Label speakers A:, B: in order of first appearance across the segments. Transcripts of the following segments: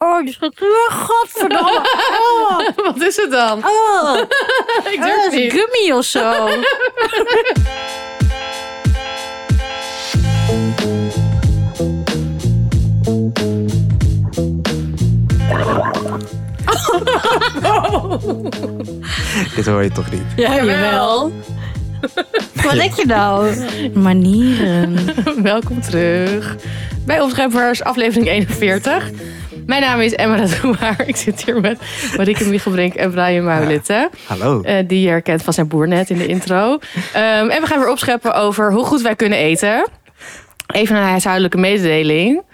A: Oh, die schrikt. Godverdomme. Oh,
B: Wat is het dan?
A: oh.
B: ik
A: Oh,
B: durf
A: dat is
B: niet.
A: gummy of zo.
C: Dit hoor je toch niet?
A: Ja,
B: jawel.
A: Wat denk je nou?
C: Oh,
A: Manieren.
B: Welkom terug bij Opscheppers, aflevering 41. Mijn naam is Emma Radouwaar. Ik zit hier met Marike Michelbrink en Brian Maulitten.
C: Hallo.
B: Eh, die je herkent van zijn boer net in de intro. Ehm, en we gaan weer opscheppen over hoe goed wij kunnen eten. Even een huishoudelijke mededeling.
C: Oh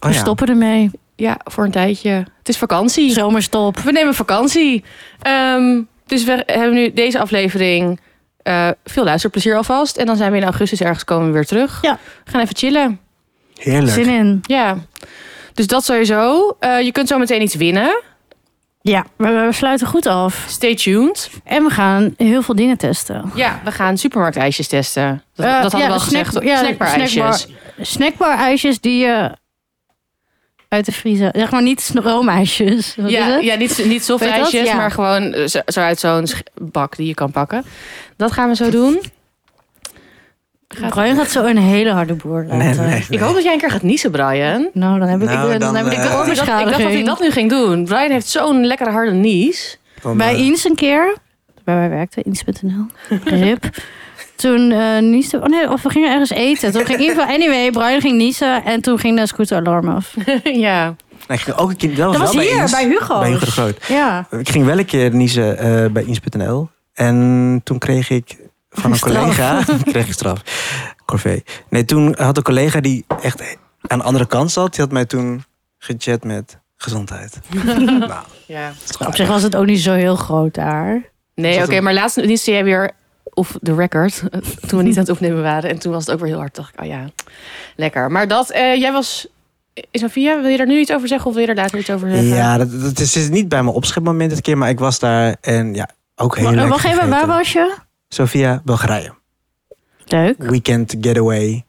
A: We
C: ja.
A: stoppen ermee.
B: Ja, voor een tijdje. Het is vakantie.
A: Zomerstop.
B: We nemen vakantie. Ehm, dus we hebben nu deze aflevering. eh, veel luisterplezier alvast. En dan zijn we in augustus ergens komen we weer terug.
A: Ja.
B: We gaan even chillen.
C: Heerlijk.
A: Zin in.
B: Ja. Dus dat sowieso. Eh, je kunt zo meteen iets winnen.
A: Ja, we, we sluiten goed af.
B: Stay tuned.
A: En we gaan heel veel dingen testen.
B: Ja, we gaan supermarktijsjes testen. Dat,
A: Eh,
B: dat hadden
A: ja,
B: we al
A: snack-
B: gezegd.
A: ja,
B: Snackbar-ijsjes.
A: snackbar- Snackbar-ijsjes die je uit de vriezer... Zeg maar niet roomijsjes. Wat is
B: Ja,
A: het?
B: ja, niet, niet soft
A: Weet je dat?
B: ijsjes,
A: Ja.
B: maar gewoon eh, zo, zo uit zo'n sch- bak die je kan pakken. Dat gaan we zo doen.
A: Brian gaat zo een hele harde boer laten.
C: Nee, nee, nee.
B: Ik hoop dat jij een keer gaat niezen, Brian.
A: Nou, dan heb ik,
C: Nou,
A: dan,
C: dan,
A: heb ik
C: eh,
A: de
C: Ik dacht-
B: Ik dacht, ik dacht dat hij
A: oorverschadiging.
B: dat nu ging doen. Brian heeft zo'n lekkere harde nies.
C: Dan,
A: Bij
C: eh,
A: Ins een keer, waar wij werkten, Ins.nl, rip. Toen eh nieste, oh nee, of we gingen ergens eten. Toen ging in ieder geval, anyway, Brian ging niezen en toen ging de scooteralarm af.
B: ja.
C: nee, ik ging ook een keer, dat was,
A: was
C: wel
A: hier,
C: Ins.
A: bij Hugo's.
C: Bij Hugo de Groot.
A: Ja.
C: Ik ging wel een keer niezen eh, bij Ins.nl. En toen kreeg ik van een
A: Straf.
C: collega... kreeg ik straf. Corvée. Nee, toen had een collega die echt aan de andere kant zat... die had mij toen gechat met gezondheid. nou,
B: ja.
C: straf.
A: Op zich was het ook niet zo heel groot daar.
B: Nee,
C: Is
B: oké,
C: dat een-
B: maar laatst nieste jij weer off the record. eh, Toen we niet aan het opnemen waren. En toen was het ook weer heel hard. dacht ik, oh ja, lekker. Maar dat, eh, jij was... Sophia, wil je daar nu iets over zeggen of wil je er later iets over zeggen?
C: Ja, dat, dat is, is niet bij mijn opschepmoment dit keer... maar ik was daar en ja, ook heel
A: Maar, eh,
C: lekker
A: wacht even, waar
C: gegeten.
A: was je?
C: Sofia, Bulgarije.
A: Leuk.
C: Weekend getaway.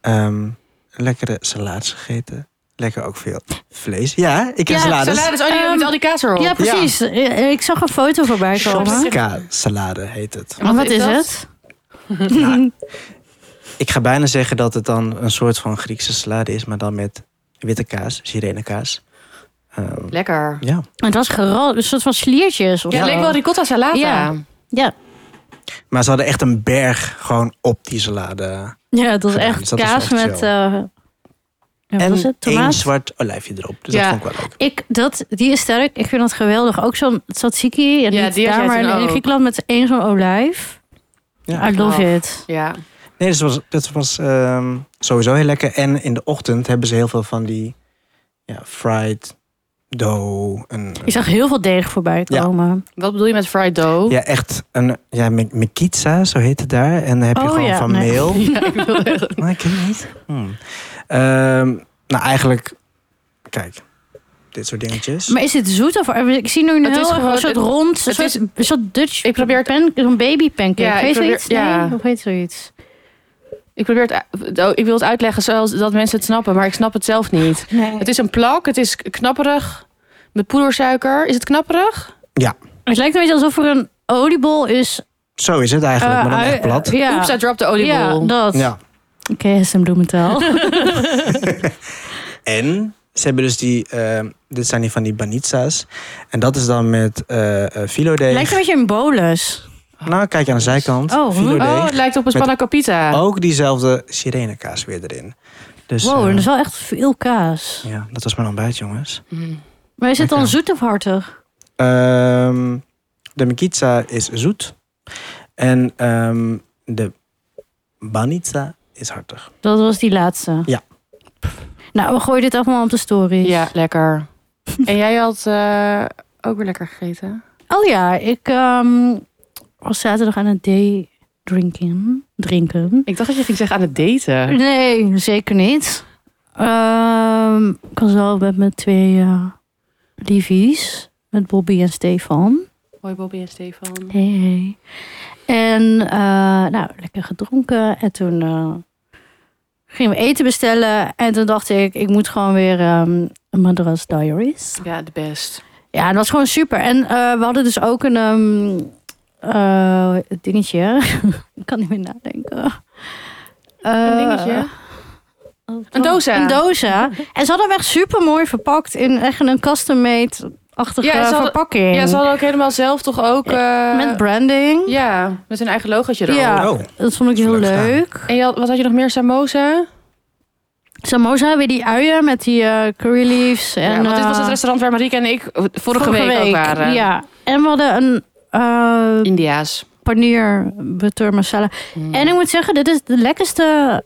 C: Ehm, lekkere salades gegeten. Lekker ook veel vlees. Ja, ik heb
A: Ja,
C: salades.
B: Salades, oh nee,
A: Ehm,
B: met al die kaas erop.
A: Ja, precies. Eh, Ik zag een foto voorbij komen.
C: Ka salade heet het.
A: Maar wat is het?
C: Nou, ik ga bijna zeggen dat het dan een soort van Griekse salade is, maar dan met witte kaas, sirenekaas. Ehm,
B: Lekker.
C: ja,
A: Het was gerookt, een soort van sliertjes. Of
B: Ja,
A: zo.
B: het leek wel ricotta salata.
A: Ja. Ja.
C: maar ze hadden echt een berg gewoon op die salade.
A: ja, het was
C: Gedaan,
A: echt
C: dus dat is
A: kaas
C: echt
A: met...
C: zo.
A: eh, ja, wat was
C: en
A: het?
C: één
A: Tomaat?
C: zwart olijfje erop. Dus
B: Ja.
C: dat vond ik wel leuk.
A: Ik, dat, die is sterk. Ik vind dat geweldig. Ook zo'n tzatziki. En
B: Ja,
A: niet
B: die had
A: daar,
B: jij
A: maar
B: toen
A: in
B: ook.
A: Griekenland met één zo'n olijf.
C: Ja.
A: I love
B: Oh.
A: it.
B: Ja.
C: Nee, dus was, dat was ehm, sowieso heel lekker. En in de ochtend hebben ze heel veel van die ja, fried dough. Een,
A: Ik zag heel veel deeg voorbij
C: Ja.
A: komen.
B: Wat bedoel je met fried dough?
C: ja, echt een ja, me- mekitsa, zo heet het daar. En dan heb je
A: Oh
C: gewoon
A: ja,
C: van
A: nee.
C: meel.
B: Ja, ik wilde echt-
C: Maar ik ken het niet. Hmm. Ehm, nou, eigenlijk, kijk, dit soort dingetjes.
A: Maar is het zoet? Of, ik zie nu een
B: Het is
A: heel erg
B: gewoon-
A: een soort
B: het-
A: rond, een
B: het
A: soort,
B: is-
A: een soort Dutch
B: Ik probeer het-
A: pan, zo'n baby pancake.
B: Ja, ik
A: heet
B: probeer-
A: zoiets? Nee?
B: ja.
A: Hoe heet zoiets?
B: Ik probeer het, oh, ik wil het uitleggen zoals dat mensen het snappen, maar ik snap het zelf niet.
A: Nee.
B: Mm. Het is een plak, het is knapperig met poedersuiker. Is het knapperig?
A: Het lijkt een beetje alsof er een oliebol is.
C: Zo is het eigenlijk,
A: eh,
C: maar dan
A: ui-
C: echt plat.
A: Ja,
B: Oeps, I dropped de
A: ja
B: oliebol.
A: dat.
C: Ja.
A: Oké, SM doet het al.
C: En ze hebben dus die, ehm, dit zijn die van die banitsa's. En dat is dan met eh eh, filodeeg.
A: lijkt een beetje een bolus.
C: Nou, kijk aan de zijkant.
A: Oh,
C: Filodeeg.
B: Oh, het lijkt op een
C: Met- Oh.
B: spanna capita.
C: Ook diezelfde sirenekaas weer erin. Dus,
A: Wow,
C: eh,
A: en dat is wel echt veel kaas.
C: Ja, dat was mijn ontbijt, jongens.
B: Mm.
A: Maar is het dan
C: Lekker.
A: zoet of hartig?
C: Ehm, de mekitsa is zoet. En ehm, de banitsa is hartig.
A: Dat was die laatste.
C: Ja.
A: Nou, we gooien dit allemaal op de stories.
B: Ja, lekker. en jij had eh, ook weer lekker gegeten.
A: Oh ja, ik ehm, was zaterdag aan het day drinken. Drinken.
B: Ik dacht dat je ging zeggen aan het daten.
A: Nee, zeker niet. Ehm, ik was wel met mijn twee eh, liefies. Met Bobby en Stefan.
B: Hoi Bobby en Stefan.
A: Hey, hey. En eh, nou, lekker gedronken. En toen eh, gingen we eten bestellen. En toen dacht ik, ik moet gewoon weer ehm, Madras Diaries.
B: Ja, de best.
A: Ja, dat was gewoon super. En eh, we hadden dus ook een ehm, eh, dingetje. Ik kan niet meer nadenken.
B: Een
A: Eh,
B: dingetje.
A: doos
B: Een doza.
A: Een doza. En ze hadden hem echt super mooi verpakt in echt een custom-made-achtige
B: Ja, ze hadden-
A: verpakking.
B: Ja, ze hadden ook helemaal zelf toch ook... eh,
A: Met branding.
B: Ja, met hun eigen logootje erop.
A: Ja.
C: Oh,
A: Dat vond ik heel
C: Leuk gedaan.
A: leuk.
B: En je had- wat had je nog meer? Samosa?
A: Samosa, weer die uien met die eh, curry leaves. En,
B: ja, want dit was
A: eh,
B: het restaurant waar Marieke en ik vorige, week, ook waren.
A: Ja. En we hadden een eh
B: India's. Mm.
A: paneer butter masala. En ik moet zeggen, dit is de lekkerste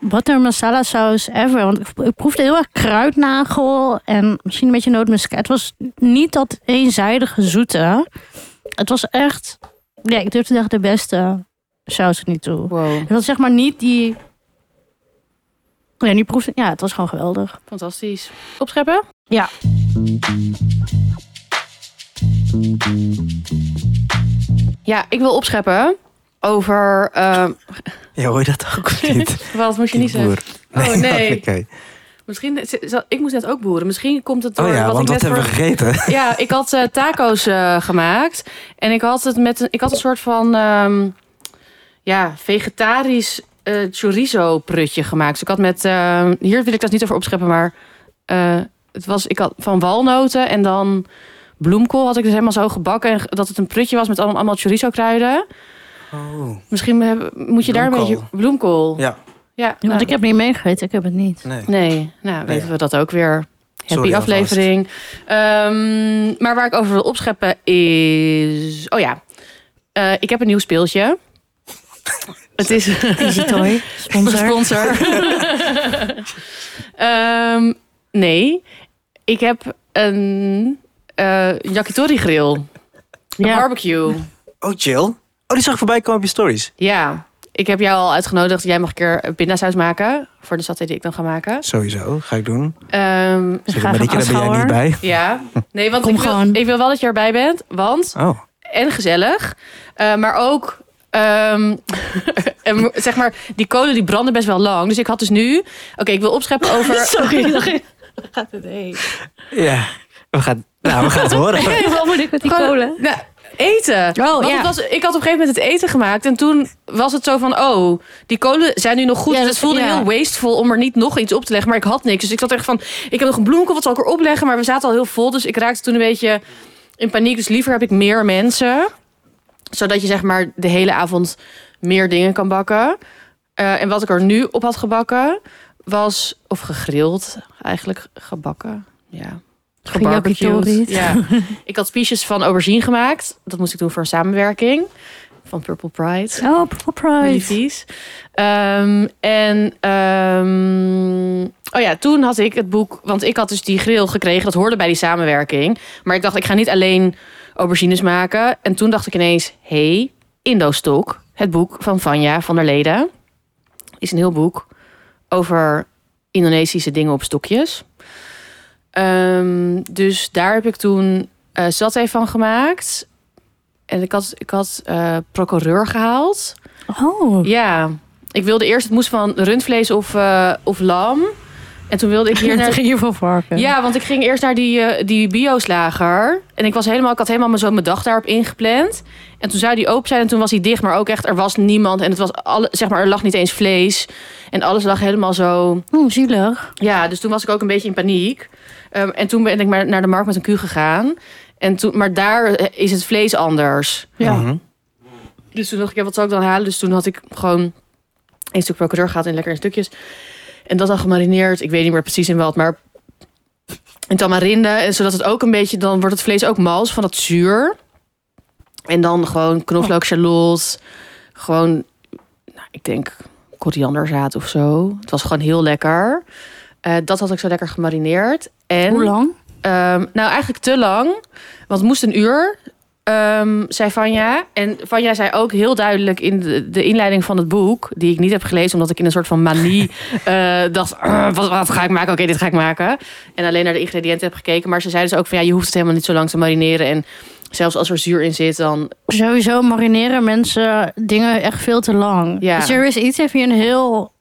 A: butter masala saus ever. Want ik, ik proefde heel erg kruidnagel en misschien een beetje nootmuskaat. Het was niet dat eenzijdige zoete. Het was echt, ja, ik durf te zeggen, de beste saus er niet toe.
B: Wow,
A: Het was zeg maar niet die... Ja, nu proefde Ja, het was gewoon geweldig.
B: fantastisch. Opscheppen?
A: Ja.
B: Ja, ik wil opscheppen over... eh,
C: ja, hoor je dat ook of niet?
B: wat moet je
C: Die
B: niet zeggen?
C: boer.
B: Oh, nee.
C: Oké.
B: Misschien, eh, ik moest net ook boeren. Misschien komt het door
C: Oh ja,
B: wat ik
C: want
B: net
C: wat hebben we
B: voor-
C: gegeten?
B: Ja, ik had eh, taco's eh, gemaakt. En ik had het met een, ik had een soort van ehm, ja, vegetarisch eh, chorizo prutje gemaakt. Dus ik had met. ehm, hier wil ik dat niet over opscheppen, maar eh, het was. Ik had van walnoten en dan bloemkool had ik dus helemaal zo gebakken. En ge- dat het een prutje was met allemaal, allemaal chorizo kruiden.
C: Oh,
B: Misschien heb- moet je daar een
C: Bloemkool.
B: beetje bloemkool.
C: ja.
B: ja
A: Ja,
B: nou,
A: want ik heb niet meegegeten, ik heb het niet.
C: Nee.
B: Nee, nou weten
C: ja.
B: we dat ook weer. Happy
C: Sorry alvast.
B: aflevering. Ehm, maar waar ik over wil opscheppen is... Oh ja, Eh, ik heb een nieuw speeltje. Het is
A: Easy Toy, sponsor.
B: sponsor. Ehm, nee, ik heb een eh yakitori grill. Een
A: Ja.
B: barbecue.
C: Oh, chill. Oh, die zag ik voorbij komen op je stories.
B: Ja, ik heb jou al uitgenodigd. Jij mag een keer pindasaus maken voor de saté die ik dan ga maken.
C: Sowieso, ga ik doen.
B: Ehm,
C: Zeg,
A: graag
C: maar
A: een
C: daar ben jij niet bij.
B: Ja, nee, want
A: Kom
B: ik wil,
A: gewoon.
B: ik wil wel dat je erbij bent, want
C: Oh,
B: en gezellig, eh, maar ook ehm, en mo- zeg maar die kolen die branden best wel lang, dus ik had dus nu, oké, ik wil opscheppen over.
A: Sorry, gaat het heen?
C: ja. We gaan, nou, we gaan het horen.
A: Wat moet ik met die
B: Gewoon-
A: kolen? Oh,
B: Nou, eten. Want
A: ja.
B: het was, ik had op een gegeven moment het eten gemaakt en toen was het zo van, oh, die kolen zijn nu nog goed.
A: Ja,
B: dus
A: dat-
B: het voelde
A: ja.
B: heel wasteful om er niet nog iets op te leggen, maar ik had niks. Dus ik zat echt van, ik heb nog een bloemkool, wat zal ik erop leggen? Maar we zaten al heel vol, dus ik raakte toen een beetje in paniek. Dus liever heb ik meer mensen, zodat je zeg maar de hele avond meer dingen kan bakken. Eh, en wat ik er nu op had gebakken was, of gegrild eigenlijk, gebakken, ja. Gebarbecued.
A: Geyakitoried.
B: Ja. Ik had spiesjes van aubergine gemaakt. Dat moest ik doen voor een samenwerking van Purple Pride.
A: Oh, Purple
B: Really
A: Pride.
B: vies. Ehm, en ehm, oh ja, toen had ik het boek, want ik had dus die grill gekregen. Dat hoorde bij die samenwerking. Maar ik dacht, ik ga niet alleen aubergines maken. En toen dacht ik ineens, hé, hey, Indostok, het boek van Vanja van der Leden, is een heel boek over Indonesische dingen op stokjes. Ehm, dus daar heb ik toen eh saté van gemaakt. En ik had, ik had eh, procureur gehaald.
A: Oh,
B: Ja, ik wilde eerst, het moest van rundvlees of, eh, of lam. En toen wilde ik hier
A: hier
B: naar...
A: ging je voor varken.
B: Ja, want ik ging eerst naar die, eh, die bioslager. En ik, was helemaal, ik had helemaal mijn- zo mijn dag daarop ingepland. En toen zou die open zijn en toen was die dicht. Maar ook echt, er was niemand. En het was alle, zeg maar, er lag niet eens vlees. En alles lag helemaal zo...
A: Oh, zielig.
B: Ja, dus toen was ik ook een beetje in paniek. Ehm, en toen ben ik maar naar de markt met een Q gegaan. En toen, maar daar eh, is het vlees anders.
A: Ja.
C: Mhm.
B: Dus toen dacht ik, ja, wat zou ik dan halen? Dus toen had ik gewoon een stuk procureur gehad en lekker in stukjes. En dat dan gemarineerd. Ik weet niet meer precies in wat, maar in tamarinde. En zodat het ook een beetje, dan wordt het vlees ook mals van dat zuur. En dan gewoon knoflook, shallot. Gewoon, nou, ik denk korianderzaad of zo. Het was gewoon heel lekker. Eh, dat had ik zo lekker gemarineerd. En
A: Hoe lang?
B: Ehm, nou, eigenlijk te lang. Want het moest een uur, ehm, zei Vanja. En Vanja zei ook heel duidelijk in de, de inleiding van het boek... die ik niet heb gelezen, omdat ik in een soort van manie eh, dacht... "Ah, wat, wat ga ik maken? Oké, dit ga ik maken. En alleen naar de ingrediënten heb gekeken. Maar ze zei dus ook van... ja, je hoeft het helemaal niet zo lang te marineren. En zelfs als er zuur in zit, dan...
A: Sowieso marineren mensen dingen echt veel te lang.
B: Ja.
A: Dus er is iets, heeft hier een heel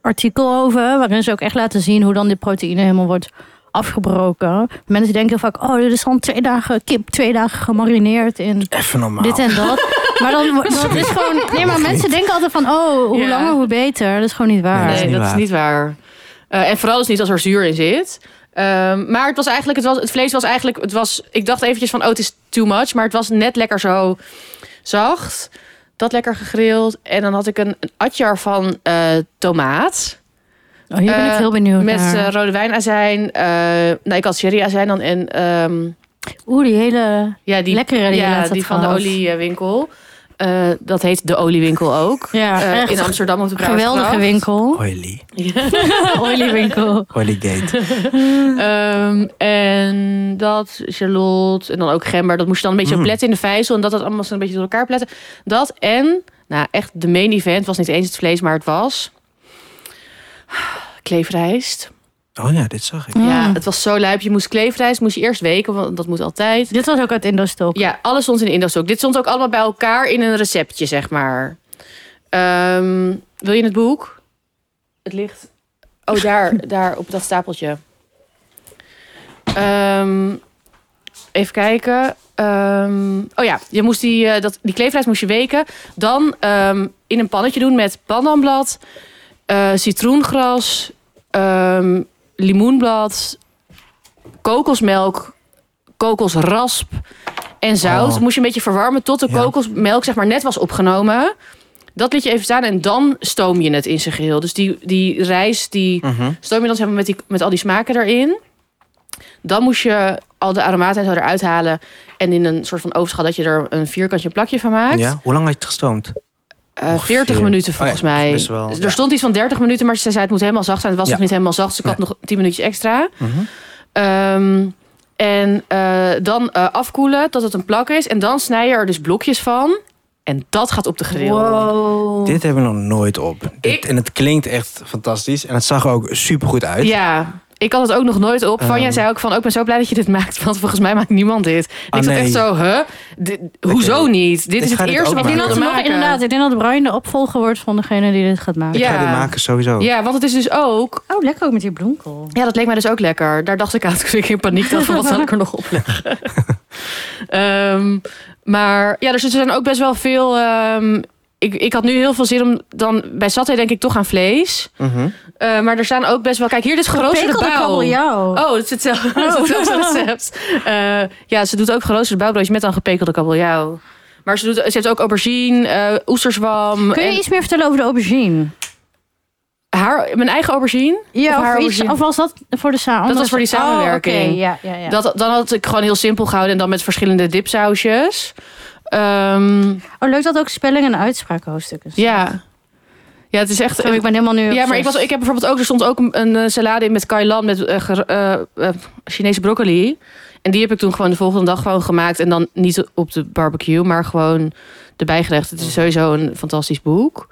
A: artikel over... waarin ze ook echt laten zien hoe dan dit proteïne helemaal wordt afgebroken. Mensen denken vaak, oh, dit is dan twee dagen kip, twee dagen gemarineerd in
C: Even
B: Nou.
C: normaal.
A: dit en dat. Maar dan dat is gewoon. Nee, maar mensen denken altijd van, oh, hoe
B: Ja.
A: langer, hoe beter. Dat is gewoon niet waar.
C: Nee,
B: Nee,
C: niet
B: dat is
C: waar.
B: niet waar. Eh, en vooral dus niet als er zuur in zit. Ehm, maar het was eigenlijk, het, was, het vlees was eigenlijk, het was, ik dacht eventjes van, oh, het is too much. Maar het was net lekker zo zacht. Dat lekker gegrild. En dan had ik een, een atjar van eh, tomaat.
A: Oh, hier ben ik
B: Eh,
A: heel benieuwd
B: Met
A: naar.
B: eh, rode wijnazijn. eh, nou, ik had sherryazijn dan. En ehm,
A: Oeh, die hele.
B: ja, die,
A: Lekkere die je
B: ja,
A: laatst had
B: die van de
A: gehad.
B: oliewinkel. Eh, dat heet de oliewinkel ook.
A: Ja,
B: Eh,
A: echt
B: in Amsterdam op de
A: geweldige
B: Brouwersgracht.
A: winkel.
C: Oily.
B: Oh,
A: Oily winkel.
C: Oily gate.
B: Ehm, en dat, shallot en dan ook gember. Dat moest je dan een beetje
C: Mm.
B: pletten in de vijzel. En dat dat allemaal zo een beetje door elkaar pletten. Dat en, nou echt de main event was niet eens het vlees, maar het was... Kleefrijst.
C: Oh ja, dit zag ik.
B: Ja,
A: Mm.
B: het was zo luip. Je moest kleefrijst, moest je eerst weken, want dat moet altijd.
A: Dit was ook uit Indostok.
B: Ja, alles stond in de Indostok. Dit stond ook allemaal bij elkaar in een receptje, zeg maar. Ehm, wil je het boek? Het ligt... Oh, daar, daar op dat stapeltje. Ehm, even kijken. Ehm, oh ja, je moest die, eh, dat, die kleefrijst moest je weken. Dan ehm, in een pannetje doen met pandanblad, eh, citroengras, ehm, limoenblad, kokosmelk, kokosrasp en zout.
C: Oh.
B: Moest je een beetje verwarmen tot de
C: Ja.
B: kokosmelk zeg maar, net was opgenomen. Dat liet je even staan en dan stoom je het in zijn geheel. Dus die, die rijst, die
C: Mhm.
B: stoom je dan zeg maar, met, die, met al die smaken erin. Dan moest je al de aromaten en zo eruit halen. En in een soort van ovenschal dat je er een vierkantje plakje van maakt.
C: Ja? Hoe lang had je het gestoomd?
B: Eh,
C: Ongeveer.
B: 40 minuten
C: Oh ja,
B: volgens mij.
C: best wel,
B: er
C: ja.
B: stond iets van 30 minuten, maar ze zei het moet helemaal zacht zijn. Het was
C: Ja.
B: nog niet helemaal zacht, dus ik had nog 10 minuutjes extra.
C: Mhm.
B: Ehm, en eh, dan eh, afkoelen tot het een plak is. En dan snij je er dus blokjes van. En dat gaat op de grill.
A: Wow.
C: Dit hebben we nog nooit op. Dit, en het klinkt echt fantastisch. En het zag er ook super goed uit.
B: Ja, ik had het ook nog nooit op. Vanja
C: Ehm.
B: zei ook van, oh, ik ben zo blij dat je dit maakt, want volgens mij maakt niemand dit. En
C: Ah,
B: ik zat
C: nee.
B: echt zo, huh? Dit- hoezo niet? Dit
C: Ik
B: is
C: ga
B: het
C: dit
B: eerste
C: ook
B: wat
A: Ik denk
B: ik
C: maken.
A: dat
B: wilde
A: er nog
B: maken.
A: inderdaad, ik denk dat Brian de opvolger wordt van degene die dit gaat maken.
C: Ik
B: Ja.
C: ga dit maken sowieso.
B: Ja, want het is dus ook...
A: Oh, lekker ook met die bloemkool.
B: Ja, dat leek mij dus ook lekker. Daar dacht ik aan toen ik in paniek dacht van, wat zal ik er nog op leggen? Ehm, maar ja, dus er zijn ook best wel veel... ehm, ik, ik had nu heel veel zin om dan bij saté denk ik toch aan vlees.
C: Mhm.
B: Eh, maar er staan ook best wel... Kijk, hier dit geroosterde
A: Gepekelde
B: bouw.
A: kabeljauw.
B: Oh, het is hetzelfde,
A: Oh.
B: het is hetzelfde recept. Eh, ja, ze doet ook geroosterde bouwbroodjes met dan gepekelde kabeljauw. Maar ze, doet, ze heeft ook aubergine, eh oesterzwam.
A: Kun je
B: en
A: iets meer vertellen over de aubergine?
B: haar, mijn eigen aubergine.
A: Ja,
B: of
A: of,
B: haar
A: iets,
B: aubergine.
A: of was dat voor de samen?
B: was voor die samenwerking.
A: Oh, oké, ja, ja, ja.
B: Dat, dan had ik gewoon heel simpel gehouden en dan met verschillende dipsausjes. Ehm,
A: oh, leuk dat ook spelling en uitspraak hoofdstukken zijn.
B: ja. Ja, het is echt...
A: Sorry, ik ben helemaal nu
B: ja, maar ik, was, ik heb bijvoorbeeld ook... Er stond ook een, een, eh, salade in met kailan met eh, ger- eh, eh, Chinese broccoli. En die heb ik toen gewoon de volgende dag gewoon gemaakt. En dan niet op de barbecue, maar gewoon de bijgerecht. Het
A: Oh.
B: is sowieso een fantastisch boek.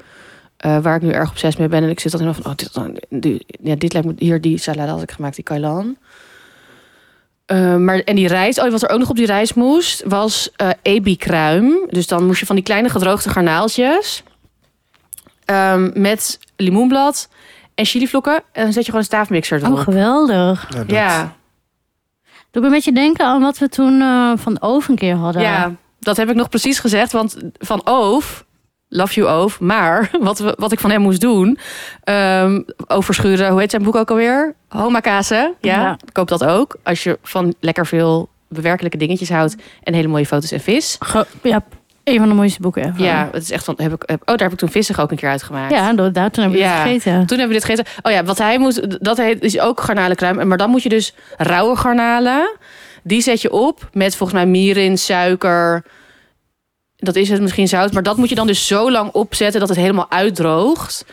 B: eh, waar ik nu erg obsessief mee ben. En ik zit dan helemaal van... Oh, dit, die- ja, dit lijkt me... Hier, die salade had ik gemaakt, die kailan. Eh, maar, en die rijst, oh, wat er ook nog op die rijst moest, was eh ebi-kruim. Dus dan moest je van die kleine gedroogde garnaaltjes ehm, met limoenblad en chilivlokken. En dan zet je gewoon een staafmixer erop.
A: Oh, geweldig.
C: Ja, dat-
B: ja,
A: Doe me een beetje denken aan wat we toen eh, van Oof een keer hadden.
B: ja, dat heb ik nog precies gezegd. Want van Oof, love you Oof, maar wat, we- wat ik van hem moest doen... ehm, overschuren, hoe heet zijn boek ook alweer? Homakase, ja,
A: Ja.
B: koop dat ook. Als je van lekker veel bewerkelijke dingetjes houdt... en hele mooie foto's en vis...
A: Ge- ja, een van de mooiste boeken ever.
B: Ja, het is echt van. Heb ik, heb- oh, daar heb ik toen vissig ook een keer uitgemaakt.
A: Ja, door- daar toen heb ik
B: Ja.
A: het gegeten.
B: Toen hebben we dit gegeten. Oh ja, wat hij moet. Dat heet, is ook garnalenkruim. Maar dan moet je dus rauwe garnalen. Die zet je op met volgens mij mirin, suiker. Dat is het misschien zout. Maar dat moet je dan dus zo lang opzetten dat het helemaal uitdroogt.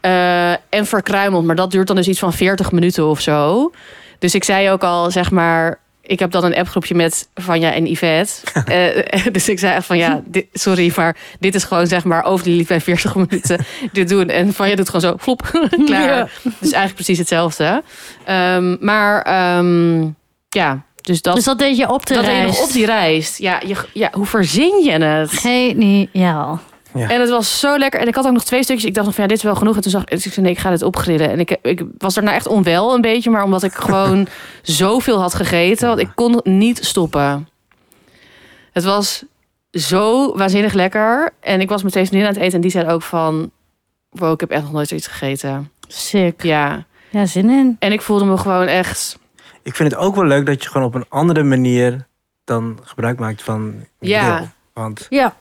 B: Eh, en verkruimelt. Maar dat duurt dan dus iets van 40 minuten of zo. Dus ik zei ook al, zeg maar. Ik heb dan een appgroepje met Vanja en Yvette. Eh, dus ik zei echt van ja, dit- sorry, maar dit is gewoon zeg maar over die liep bij 40 minuten dit doen. En Vanja doet gewoon zo, flop, klaar.
A: Ja.
B: Dus eigenlijk precies hetzelfde. Ehm, maar ehm, ja, dus dat,
A: Dus dat deed je op de
B: dat deed je nog
A: rijst.
B: op die rijst. Ja, je, ja, hoe verzin je het?
A: Geniaal.
C: Ja.
B: En het was zo lekker. En ik had ook nog twee stukjes. Ik dacht nog van ja, dit is wel genoeg. En toen zag ik, ik zei, nee, ik ga dit opgrillen. En ik, ik was daarna echt onwel een beetje. Maar omdat ik gewoon zoveel had gegeten. Want ik kon niet stoppen. Het was zo waanzinnig lekker. En ik was meteen vriendin aan het eten. En die zei ook van... Wow, ik heb echt nog nooit zoiets gegeten.
A: Sick.
B: Ja.
A: Ja, zin in.
B: En ik voelde me gewoon echt...
C: Ik vind het ook wel leuk dat je gewoon op een andere manier dan gebruik maakt van je
B: Ja.
C: deel. Want
A: Ja.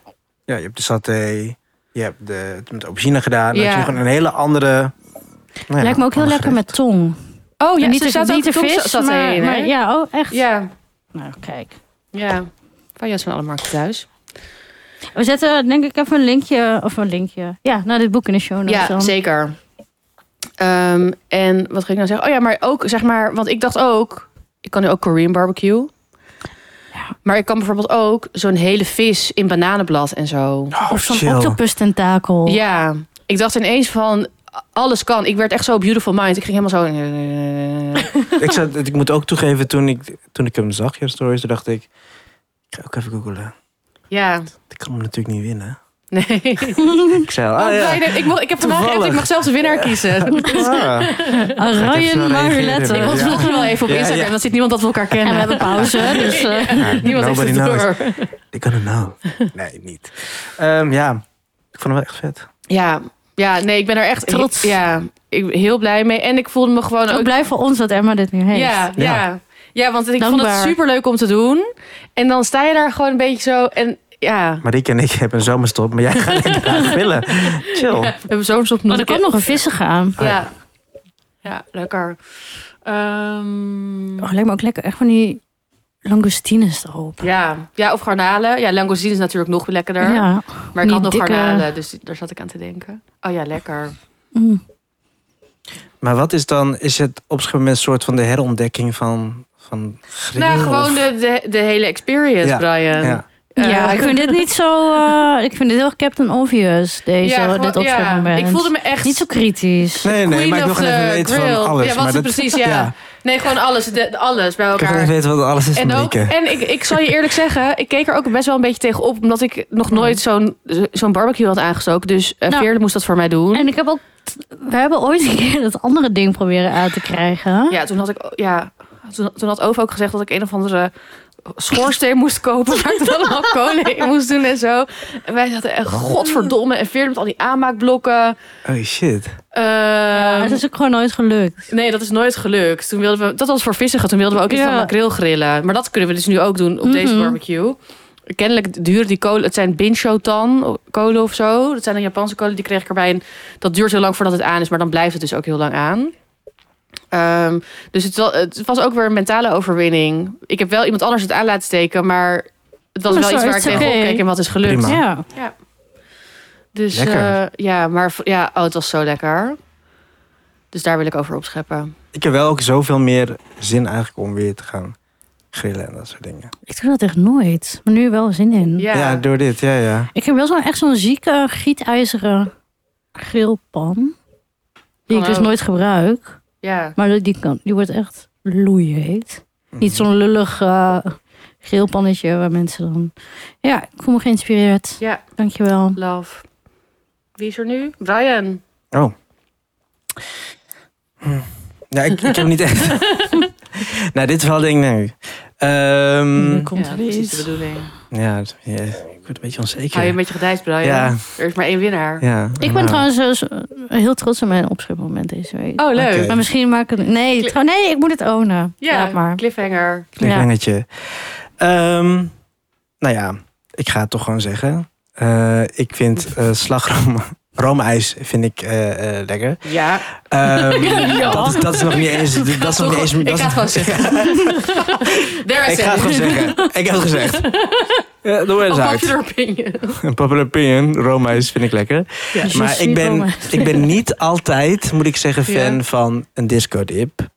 C: ja, je hebt de saté, je hebt de, het met aubergine gedaan. Dat
B: Ja.
C: je gewoon een hele andere... nou ja,
A: Lijkt me ook heel
C: andere
A: lekker
C: gerecht.
A: met tong.
B: Oh
A: niet
B: er
A: de,
B: zaten
A: niet de
B: ook
A: vis,
B: zat
A: maar,
B: erin, hè?
A: maar ja, oh, echt.
B: ja.
A: Nou, kijk.
B: Ja. Van Jas van alle markten thuis.
A: We zetten denk ik even een linkje, of een linkje. Ja, naar dit boek in de show notes
B: Ja,
A: dan.
B: zeker. Ehm, en wat ging ik nou zeggen? Oh ja, maar ook zeg maar, want ik dacht ook, ik kan nu ook Korean barbecue. Maar ik kan bijvoorbeeld ook zo'n hele vis in bananenblad en zo.
C: Oh,
A: Of zo'n
C: chill.
A: octopus tentakel.
B: Ja, ik dacht ineens van alles kan. Ik werd echt zo beautiful mind. Ik ging helemaal eh, zo.
C: ik, zat, ik moet ook toegeven, toen ik, toen ik hem zag, je stories, toen dacht ik... Ik ga ook even googlen.
B: Ja,
C: Ik kan hem natuurlijk niet winnen.
B: nee.
C: Ik zei al,
B: Oh,
C: ah, ja.
B: Brian, ik, mocht, ik heb vandaag echt,
C: Toevallig.
B: ik mag zelfs de winnaar kiezen.
C: Ah. Ik heb zo
A: Ryan
C: reageerd,
A: Marulette.
C: hoor.
B: Ik ontvolg je wel even op
C: Ja,
B: Instagram.
C: ja.
B: Dan ziet niemand dat we elkaar
A: En
B: kennen.
A: we hebben pauze, dus... eh,
C: Ja,
B: Niemand heeft
C: Ah, nobody
B: het
C: knows.
B: door.
C: Ik kan het nou. Nee, niet. Ehm, ja, ik vond hem wel echt vet.
B: Ja, ja, nee, ik ben er echt
A: Trots.
B: Ja, ik ben heel blij mee. En ik voelde me gewoon
A: Ook
B: ook.
A: blij voor ons dat Emma dit nu heeft.
B: Ja, Oh, ja. ja. want ik vond het
A: Dankbaar.
B: super leuk om te doen. En dan sta je daar gewoon een beetje zo. En ja,
C: Marieke en ik hebben een zomerstop, maar jij gaat lekker graag willen. Chill.
B: we hebben zo'n soort
A: Maar er komt nog een vissige aan.
B: Ja. ja, lekker. Ehm,
A: Oh, lijkt me ook lekker. Echt van die langoustines erop.
B: ja. ja, of garnalen. Ja, langoustine is natuurlijk nog lekkerder.
A: Ja.
B: maar ik had nog
A: die dikke-
B: garnalen, dus daar zat ik aan te denken. Oh ja, lekker.
A: Mm.
C: Maar wat is dan, is het op een moment een soort van de herontdekking van, van grill?
B: Nou,
C: of-
B: gewoon de, de, de hele experience,
C: Ja,
B: Brian.
C: Ja.
B: Eh,
A: ja, ik vind dit niet zo... eh, ik vind dit heel Captain Obvious, deze,
B: gewoon-
A: dit opschepmoment.
B: Ik voelde me echt
A: Niet zo kritisch.
C: Nee, nee,
B: queen
C: maar ik wil
B: of
C: gewoon
B: the
C: even weten
B: grill.
C: van alles.
B: Ja, wat
C: maar
B: is precies, ja. Nee, gewoon alles, de- de- alles bij
C: Ik wil
B: elkaar.
C: even weten wat alles is,
B: En, ook,
C: Marieke.
B: en ik, ik zal je eerlijk zeggen, ik keek er ook best wel een beetje tegen op. Omdat ik nog nooit zo'n zo'n barbecue had aangestoken. Dus eh,
A: Nou.
B: Veerle moest dat voor mij doen.
A: En ik heb ook... We hebben ooit een keer dat andere ding proberen uit te krijgen.
B: ja, toen had ik ja, toen, toen had Ove ook gezegd dat ik een of andere schoorsteen moest kopen. Waar ik dan allemaal kolen in moest doen en zo. En wij dachten echt, godverdomme. En Veerle met al die aanmaakblokken.
C: Oh shit.
B: Eh,
A: Het is ook gewoon nooit gelukt.
B: Nee, dat is nooit gelukt. Toen wilden we, dat was voor vissen. Toen wilden we ook iets
A: Ja.
B: van makreel grillen. Maar dat kunnen we dus nu ook doen op deze
A: Mhm.
B: barbecue. Kennelijk duren die kolen. Het zijn binchotan kolen of zo. Dat zijn de Japanse kolen. Die kreeg ik erbij. En dat duurt heel lang voordat het aan is. Maar dan blijft het dus ook heel lang aan. Ehm, dus het, wa- het was ook weer een mentale overwinning. Ik heb wel iemand anders het aan laten steken. Maar het was
A: Maar
B: wel
A: zo
B: iets waar ik
A: is het
B: tegenop
A: oké.
B: keek. En wat is gelukt.
C: Prima. Maar-
A: Ja.
B: Dus
C: Lekker.
B: eh, ja, maar v- ja, oh, het was zo lekker. Dus daar wil ik over opscheppen.
C: Ik heb wel ook zoveel meer zin eigenlijk om weer te gaan grillen en dat soort dingen.
A: Ik doe dat echt nooit. Maar nu wel zin in.
C: Ja, door dit, ja, ja.
A: Ik heb wel zo'n echt zo'n zieke gietijzeren grillpan. Die ik dus
B: Kan ook.
A: nooit gebruik.
B: Ja.
A: Maar die, kan, die wordt echt loeiheet.
B: Hmm.
A: Niet zo'n lullig eh, grillpannetje waar mensen dan... Ja, ik voel me geïnspireerd.
B: Ja,
A: Dankjewel.
B: love. Wie is er nu? Brian.
C: Oh. Hm. Ja, ik, ik heb niet echt. nou, dit is wel ding nu. Ehm,
A: Nu komt
B: ja,
A: er
B: precies de
A: iets.
B: bedoeling.
C: ja, het- ja, ik word een beetje onzeker.
B: Hou je een beetje gedijs, Brian.
C: Ja.
B: Er is maar één winnaar.
C: ja,
A: Ik ben
C: nou.
A: trouwens eh, zo- heel trots op mijn opschepmoment deze week.
B: Oh, leuk.
C: Oké.
A: Maar misschien maak ik het... Nee,
B: Kli-
A: trouw- nee, ik moet het ownen.
B: Ja,
A: Laat maar.
B: cliffhanger.
A: Ja.
C: Klinghangetje. Ehm, nou ja, ik ga het toch gewoon zeggen. Eh, ik vind eh slagroom. Roomijs vind ik eh, eh, lekker.
B: Ja.
C: Ehm,
B: Ja.
C: dat, is, dat is nog niet eens. Dat is nog niet eens.
B: Ik
C: dat
B: ga
C: is-
B: het gewoon zeggen. There is
C: Ik ga het
B: it.
C: gewoon zeggen. Ik heb het gezegd. Ja, doe eens
B: Of
C: uit.
B: popular opinion.
C: Een popular opinion, roomijs vind ik lekker.
A: Dus je
C: Maar ik
A: ziet wel
C: ben,
A: mijn-
C: ik ben niet altijd, moet ik zeggen, fan
B: Ja.
C: van een disco-dip.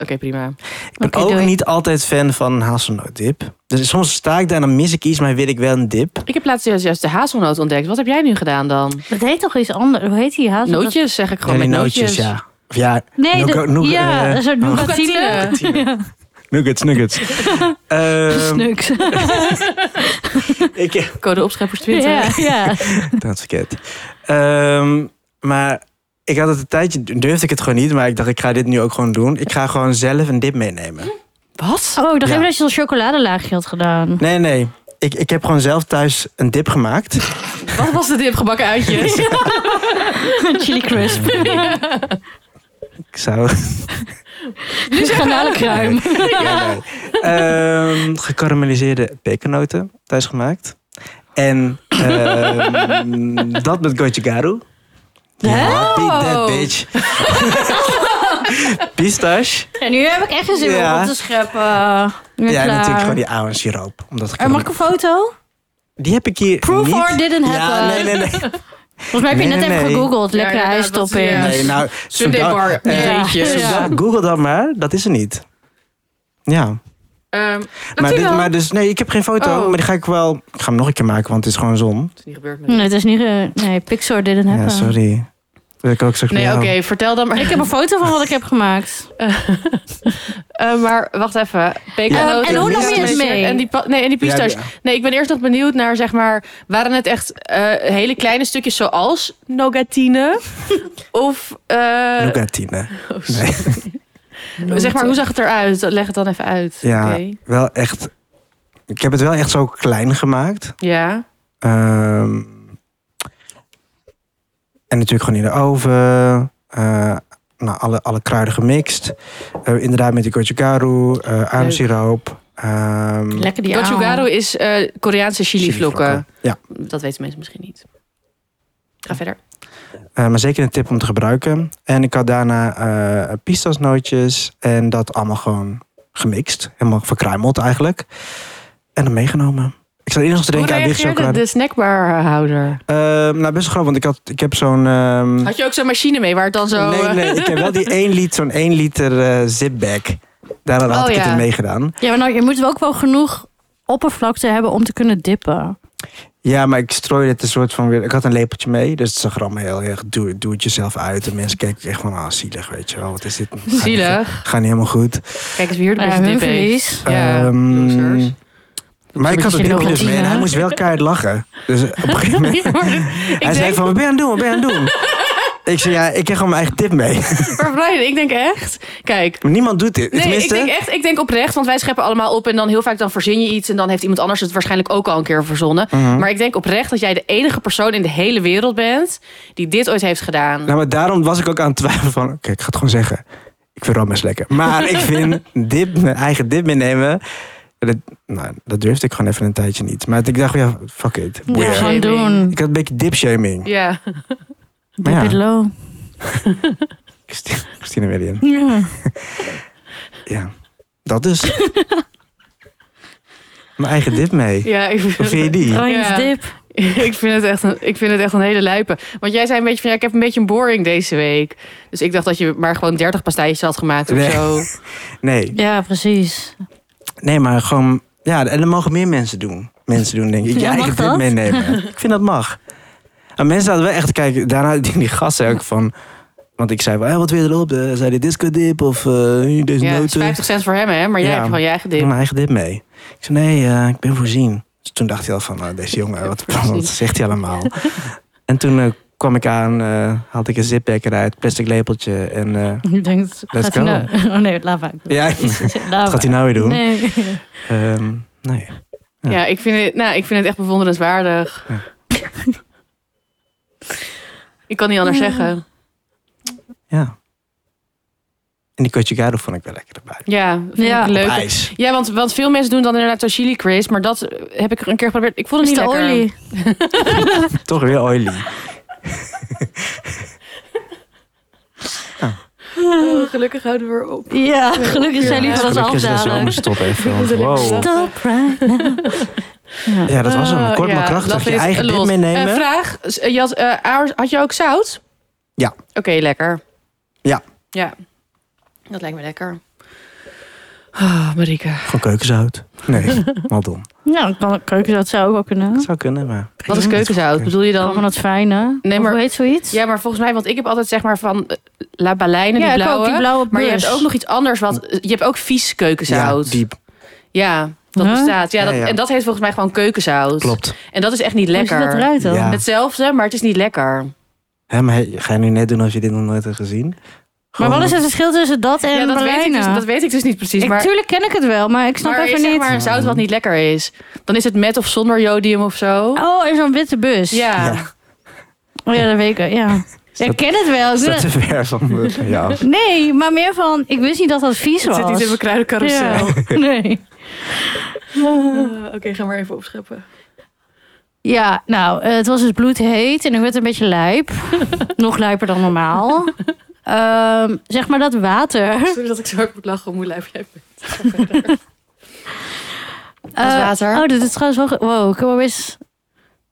B: Oké, prima.
C: Ik ben
A: Oké,
C: ook
A: doei.
C: niet altijd fan van een hazelnoot-dip. Dus soms sta ik daar en dan mis ik iets, maar wil ik wel een dip.
B: Ik heb laatst juist- juist de hazelnoot ontdekt. Wat heb jij nu gedaan dan?
A: Dat heet toch iets anders? Hoe heet die hazel?
B: Nootjes zeg ik gewoon
C: Ja, die
B: met nootjes.
C: ja. Of ja,
A: Nee,
C: Noeka-
A: dat-
C: noeka-
A: ja,
C: eh,
A: een soort nougatine.
B: Nougatine.
C: Ehm, nuggets, nuggets. Ehm,
A: Snuks.
C: ik heb
B: Code opscheppers 20.
A: Ja, ja.
C: dat verkeerd. Ehm, maar ik had het een tijdje, durfde ik het gewoon niet. Maar ik dacht, ik ga dit nu ook gewoon doen. Ik ga gewoon zelf een dip meenemen.
B: Wat?
A: Oh, ik dacht
C: Ja.
A: even dat je zo'n chocoladelaagje had gedaan.
C: Nee, nee. Ik, ik heb gewoon zelf thuis een dip gemaakt.
B: Wat was de dip gebakken uitjes?
A: Chili crisp.
C: Ik zou...
A: Granalenkruim.
C: Nee, nee. Ehm, gekarameliseerde pekernoten thuis gemaakt. En ehm, dat met gochugaru. Ja, beat
A: Oh.
C: that bitch. Pistache.
A: En nu heb ik echt geen zin meer
C: Ja.
A: om op te scheppen. Ik ben
C: Ja, en
A: klaar.
C: natuurlijk gewoon die oude siroop. Omdat ik
A: Eh, mag ik een foto?
C: Die heb ik hier
A: Proof
C: niet.
A: or didn't
C: Ja,
A: happen.
C: nee, nee, nee.
A: Volgens mij heb je
C: Nee,
A: net
C: nee,
A: even
C: nee.
A: gegoogeld. Lekkere
B: Ja, inderdaad, dat-
A: ijstopping.
B: ja.
C: nee nou, zoek dan-
B: Sunday-bar.
C: eh,
A: Ja.
B: Jeetjes.
A: Ja.
C: zoek dan- Google dat maar. Dat is er niet. Ja.
B: Ehm,
C: Maar, dit,
B: natuurlijk.
C: maar dus, nee, ik heb geen foto.
B: Oh.
C: Maar die ga ik wel... Ik ga hem nog een keer maken, want het is gewoon zon.
B: Het is niet gebeurd met
A: Nee, het is niet... eh, nee, Pixar didn't happen.
C: Ja, sorry. Wil ik ook straks
B: Nee,
C: met
B: oké,
C: jou.
B: vertel dan maar.
A: Ik heb een foto van wat ik heb gemaakt.
B: Eh, maar wacht even. Pekannoten.
A: Eh, en hoe
C: nam je het
A: mee?
B: En die, pa- nee, en die
C: Ja,
B: pistache.
C: ja.
B: Nee, ik ben eerst nog benieuwd naar, zeg maar... waren het echt eh, hele kleine stukjes zoals nogatine? of, eh,
C: Nougatine. Nee.
B: zeg maar, hoe zag het eruit? Leg het dan even uit.
C: Ja,
B: Oké.
C: wel echt... Ik heb het wel echt zo klein gemaakt.
B: Ja.
C: Ehm, en natuurlijk gewoon in de oven. eh, nou, alle, alle kruiden gemixt. Eh, inderdaad met die gochugaru, eh aardappelsiroop. ehm,
A: Lekker die
B: Gochugaru
A: ouwe.
B: is eh, Koreaanse chilivlokken.
C: chilivlokken. Ja,
B: Dat weten mensen misschien niet. Ga verder.
C: eh, maar zeker een tip om te gebruiken. En ik had daarna eh pistasnootjes en dat allemaal gewoon gemixt. Helemaal verkruimeld eigenlijk. En dan meegenomen. Ik zat eerst nog te
B: Hoe
C: denken aan witte
B: reageerde
C: chocolade.
B: de snackbarhouder?
C: Ehm, nou, best wel grappig, want ik, had, ik heb zo'n... ehm,
B: Had je ook zo'n machine mee waar het dan zo...
C: Nee,
B: eh,
C: nee, ik heb wel die 1 liter, zo'n 1 liter eh zipbag. Daar had
B: Oh,
C: ik
B: ja.
C: het in meegedaan.
A: Ja, maar nou, je moet wel ook wel genoeg oppervlakte hebben om te kunnen dippen.
C: Ja, maar ik strooide het een soort van weer. Ik had een lepeltje mee, dus het zag er allemaal heel erg. Doe, doe het jezelf uit. En mensen keken echt van, ah, zielig, weet je wel. Wat is dit? Gaat niet-
B: Zielig.
C: Gaat niet helemaal goed.
B: Kijk eens wie hier de
A: Ja,
B: beste
A: hun
B: dip heeft.
A: verlies.
B: Ja,
C: Ehm,
B: losers.
C: maar ik had het
A: Beetje
C: dipje dus
A: routine.
C: mee en hij moest wel keihard lachen. Dus op een gegeven moment,
B: ik
C: hij zei
B: denk,
C: van, wat ben je aan het doen? Wat ben je aan het doen? ik zei, ja, ik heb gewoon mijn eigen tip mee.
B: maar Brian, ik denk echt... Kijk,
C: Maar niemand doet dit.
B: nee, ik
C: Tenminste,
B: denk echt, ik denk oprecht, want wij scheppen allemaal op en dan heel vaak dan verzin je iets en dan heeft iemand anders het waarschijnlijk ook al een keer verzonnen.
C: Hm. Mhm.
B: Maar ik denk oprecht dat jij de enige persoon in de hele wereld bent die dit ooit heeft gedaan.
C: Nou, maar daarom was ik ook aan het twijfelen van... Oké, ik ga het gewoon zeggen. Ik vind roommes lekker. Maar ik vind dip, mijn eigen dip meenemen... Dat, nou, dat durfde ik gewoon even een tijdje niet. Maar ik dacht, ja, fuck it.
A: Ja,
C: boeien.
A: gewoon
B: Shaming.
A: doen.
C: Ik had een beetje dipshaming.
B: Ja.
A: Dip
C: Ja.
A: it low.
C: Christine, Christine William.
A: Ja.
C: Ja, dat dus. mijn eigen dip mee.
B: ja ik
C: Hoe vind je die?
A: Oranjes
B: Ja.
A: dip.
B: ik, vind het echt een, ik vind het echt een hele lijpe. Want jij zei een beetje van, ja, ik heb een beetje een boring deze week. Dus ik dacht dat je maar gewoon 30 pastijtjes had gemaakt of
C: Nee.
B: zo.
C: Nee,
A: Ja, precies.
C: nee, maar gewoon... Ja, en dat mogen meer mensen doen. Mensen doen, denk ik. Je
A: Ja, mag
C: eigen dip
A: dat?
C: meenemen. ik vind dat mag. En mensen hadden wel echt te kijken. Daarna die, die gasten ook van... Want ik zei wel, hé, wat wil je erop? Eh, Zei de disco dip of eh, deze
B: Ja, het is
C: noten?
B: 50 cent voor hem, hè? Maar jij
C: Ja.
B: hebt gewoon je eigen
C: Ik
B: dip.
C: mijn eigen dip mee. Ik zei, nee, eh, ik ben voorzien. Dus toen dacht hij al van, eh, deze jongen, wat, wat zegt hij allemaal? en toen eh, kwam ik aan, eh haalde ik een zipbag eruit, plastic lepeltje. En eh,
A: Ik denk, gaat hij
C: go.
A: nou... Oh nee, laat maar.
C: ja, wat gaat hij nou weer doen? Nee.
A: Nee.
C: nee.
B: Ja, ik, vind het, nou, ik vind het echt bewonderenswaardig. ik kan niet anders zeggen.
C: Ja. En die gochugaru vond ik wel lekker erbij.
B: Ja, vind
A: Ja.
B: ik
C: Op
B: leuk.
C: ijs.
B: Ja, want, want veel mensen doen dan inderdaad zo'n chili crisp. Maar dat eh, heb ik een keer geprobeerd. Ik vond
A: Is
B: het niet
A: de
B: lekker.
A: olie.
C: Toch weer oily.
B: Oh, gelukkig houden we erop.
A: Ja, gelukkig zijn jullie van ons
C: Gelukkig is dat zo.
A: afdalen.
C: Stop even. want
B: Oh.
C: wow.
A: Stop right now.
C: Ja, dat was hem.
B: Oh,
C: Kort
B: ja,
C: maar krachtig.
B: dat
C: Je
B: is
C: eigen
B: los.
C: dip meenemen.
B: Eh, vraag, S- eh, je had, eh, aars- had je ook zout?
C: Ja.
B: Oké, lekker.
C: Ja.
B: Ja, dat lijkt me lekker. Ah, Marika.
C: Gewoon keukenzout. Nee, wel dom.
A: Ja, dan kan keuken dat zou ook wel
C: Het
A: kunnen.
C: zou kunnen, maar...
B: Wat is keukenzout? Bedoel je
A: Gewoon
B: dan...
A: van het fijne.
B: Nee,
A: Nee,
B: maar-
A: maar... Hoe heet zoiets?
B: Ja, maar volgens mij, want ik heb altijd zeg maar van eh, La Baleine, die
A: ik
B: blauwe.
A: ook, die blauwe
B: maar eh, je
A: beurs.
B: hebt ook nog iets anders. Wat, je hebt ook vies keukenzout.
C: Ja, diep.
B: Ja. Dat
A: Huh?
B: bestaat. Ja,
C: Ja,
B: dat,
C: ja.
B: En dat heet volgens mij gewoon keukensaus.
A: Dus-
C: Klopt.
B: En dat is echt niet
A: Hoe ziet dat
B: lekker.
A: eruit dan?
C: Ja.
B: Hetzelfde, maar het is niet lekker.
C: Hè, maar he- ga je nu net doen alsof je dit nog nooit hebt gezien?
A: Maar
C: Gewoon-
A: wat is het verschil tussen dat en
B: ja, dat weet, ik dus,
A: Berlijnen?
B: dat weet ik dus niet precies.
A: Ik-
B: maar
A: Tuurlijk ken ik het wel, maar ik snap
B: maar
A: even
B: is, zeg
A: niet.
B: maar een zout wat niet lekker is. Dan is het met of zonder jodium of zo.
A: Oh, er is zo'n witte bus.
B: Ja.
C: Ja.
A: Oh ja, dat weet ik. Ja. Ja, ik ken het wel. Ik
C: Is
A: doe
C: dat te ver van me- van jou?
A: dat- Nee, maar meer van, ik wist niet dat dat vies
B: Het
A: was.
B: zit niet in mijn kruidencarousel.
A: Ja, nee.
B: Eh, Oké, ga maar even opscheppen.
A: Ja, nou, eh, het was dus bloedheet en ik werd een beetje lijp. Nog lijper dan normaal. Ehm, zeg maar dat water.
B: Sorry dat ik zo hard moet lachen om hoe lijf jij bent.
A: Eh,
B: water.
A: Oh, dit is trouwens wel... ge- Wow, ik heb wel eens...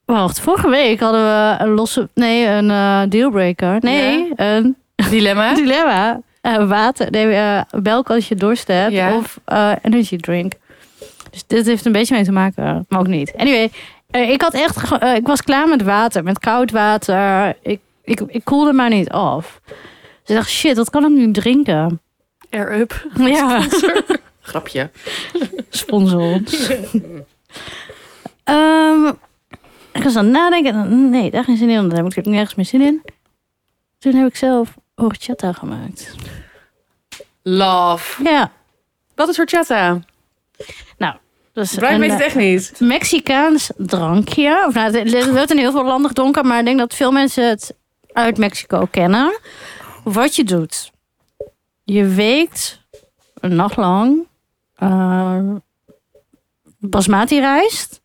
A: Wacht, vorige week hadden we een losse... Nee, een eh, dealbreaker. Nee, een
B: Dilemma?
A: dilemma. Eh, water, nee, eh, melk als je dorst hebt
B: Ja.
A: of eh, energy drink. Dus dit heeft een beetje mee te maken, maar ook niet. Anyway, eh, ik had echt, ge- eh, ik was klaar met water, met koud water. Ik, ik, ik koelde maar niet af. Dus ik dacht, shit, wat kan ik nu drinken?
B: Air up.
A: Ja,
B: Grapje.
A: sponsor ons. Ehm, ik was aan het nadenken. en dan, Nee, daar geen zin in. want Daar heb ik nergens meer zin in. Toen heb ik zelf horchata gemaakt.
B: Love.
A: Ja,
B: Wat is horchata?
A: dus
B: Brian
A: een,
B: weet
A: eh,
B: het echt niet.
A: Mexicaans drankje. Of nou, het het wordt in heel veel landen gedronken, maar ik denk dat veel mensen het uit Mexico kennen. Wat je doet. Je weekt een nacht lang eh, basmati rijst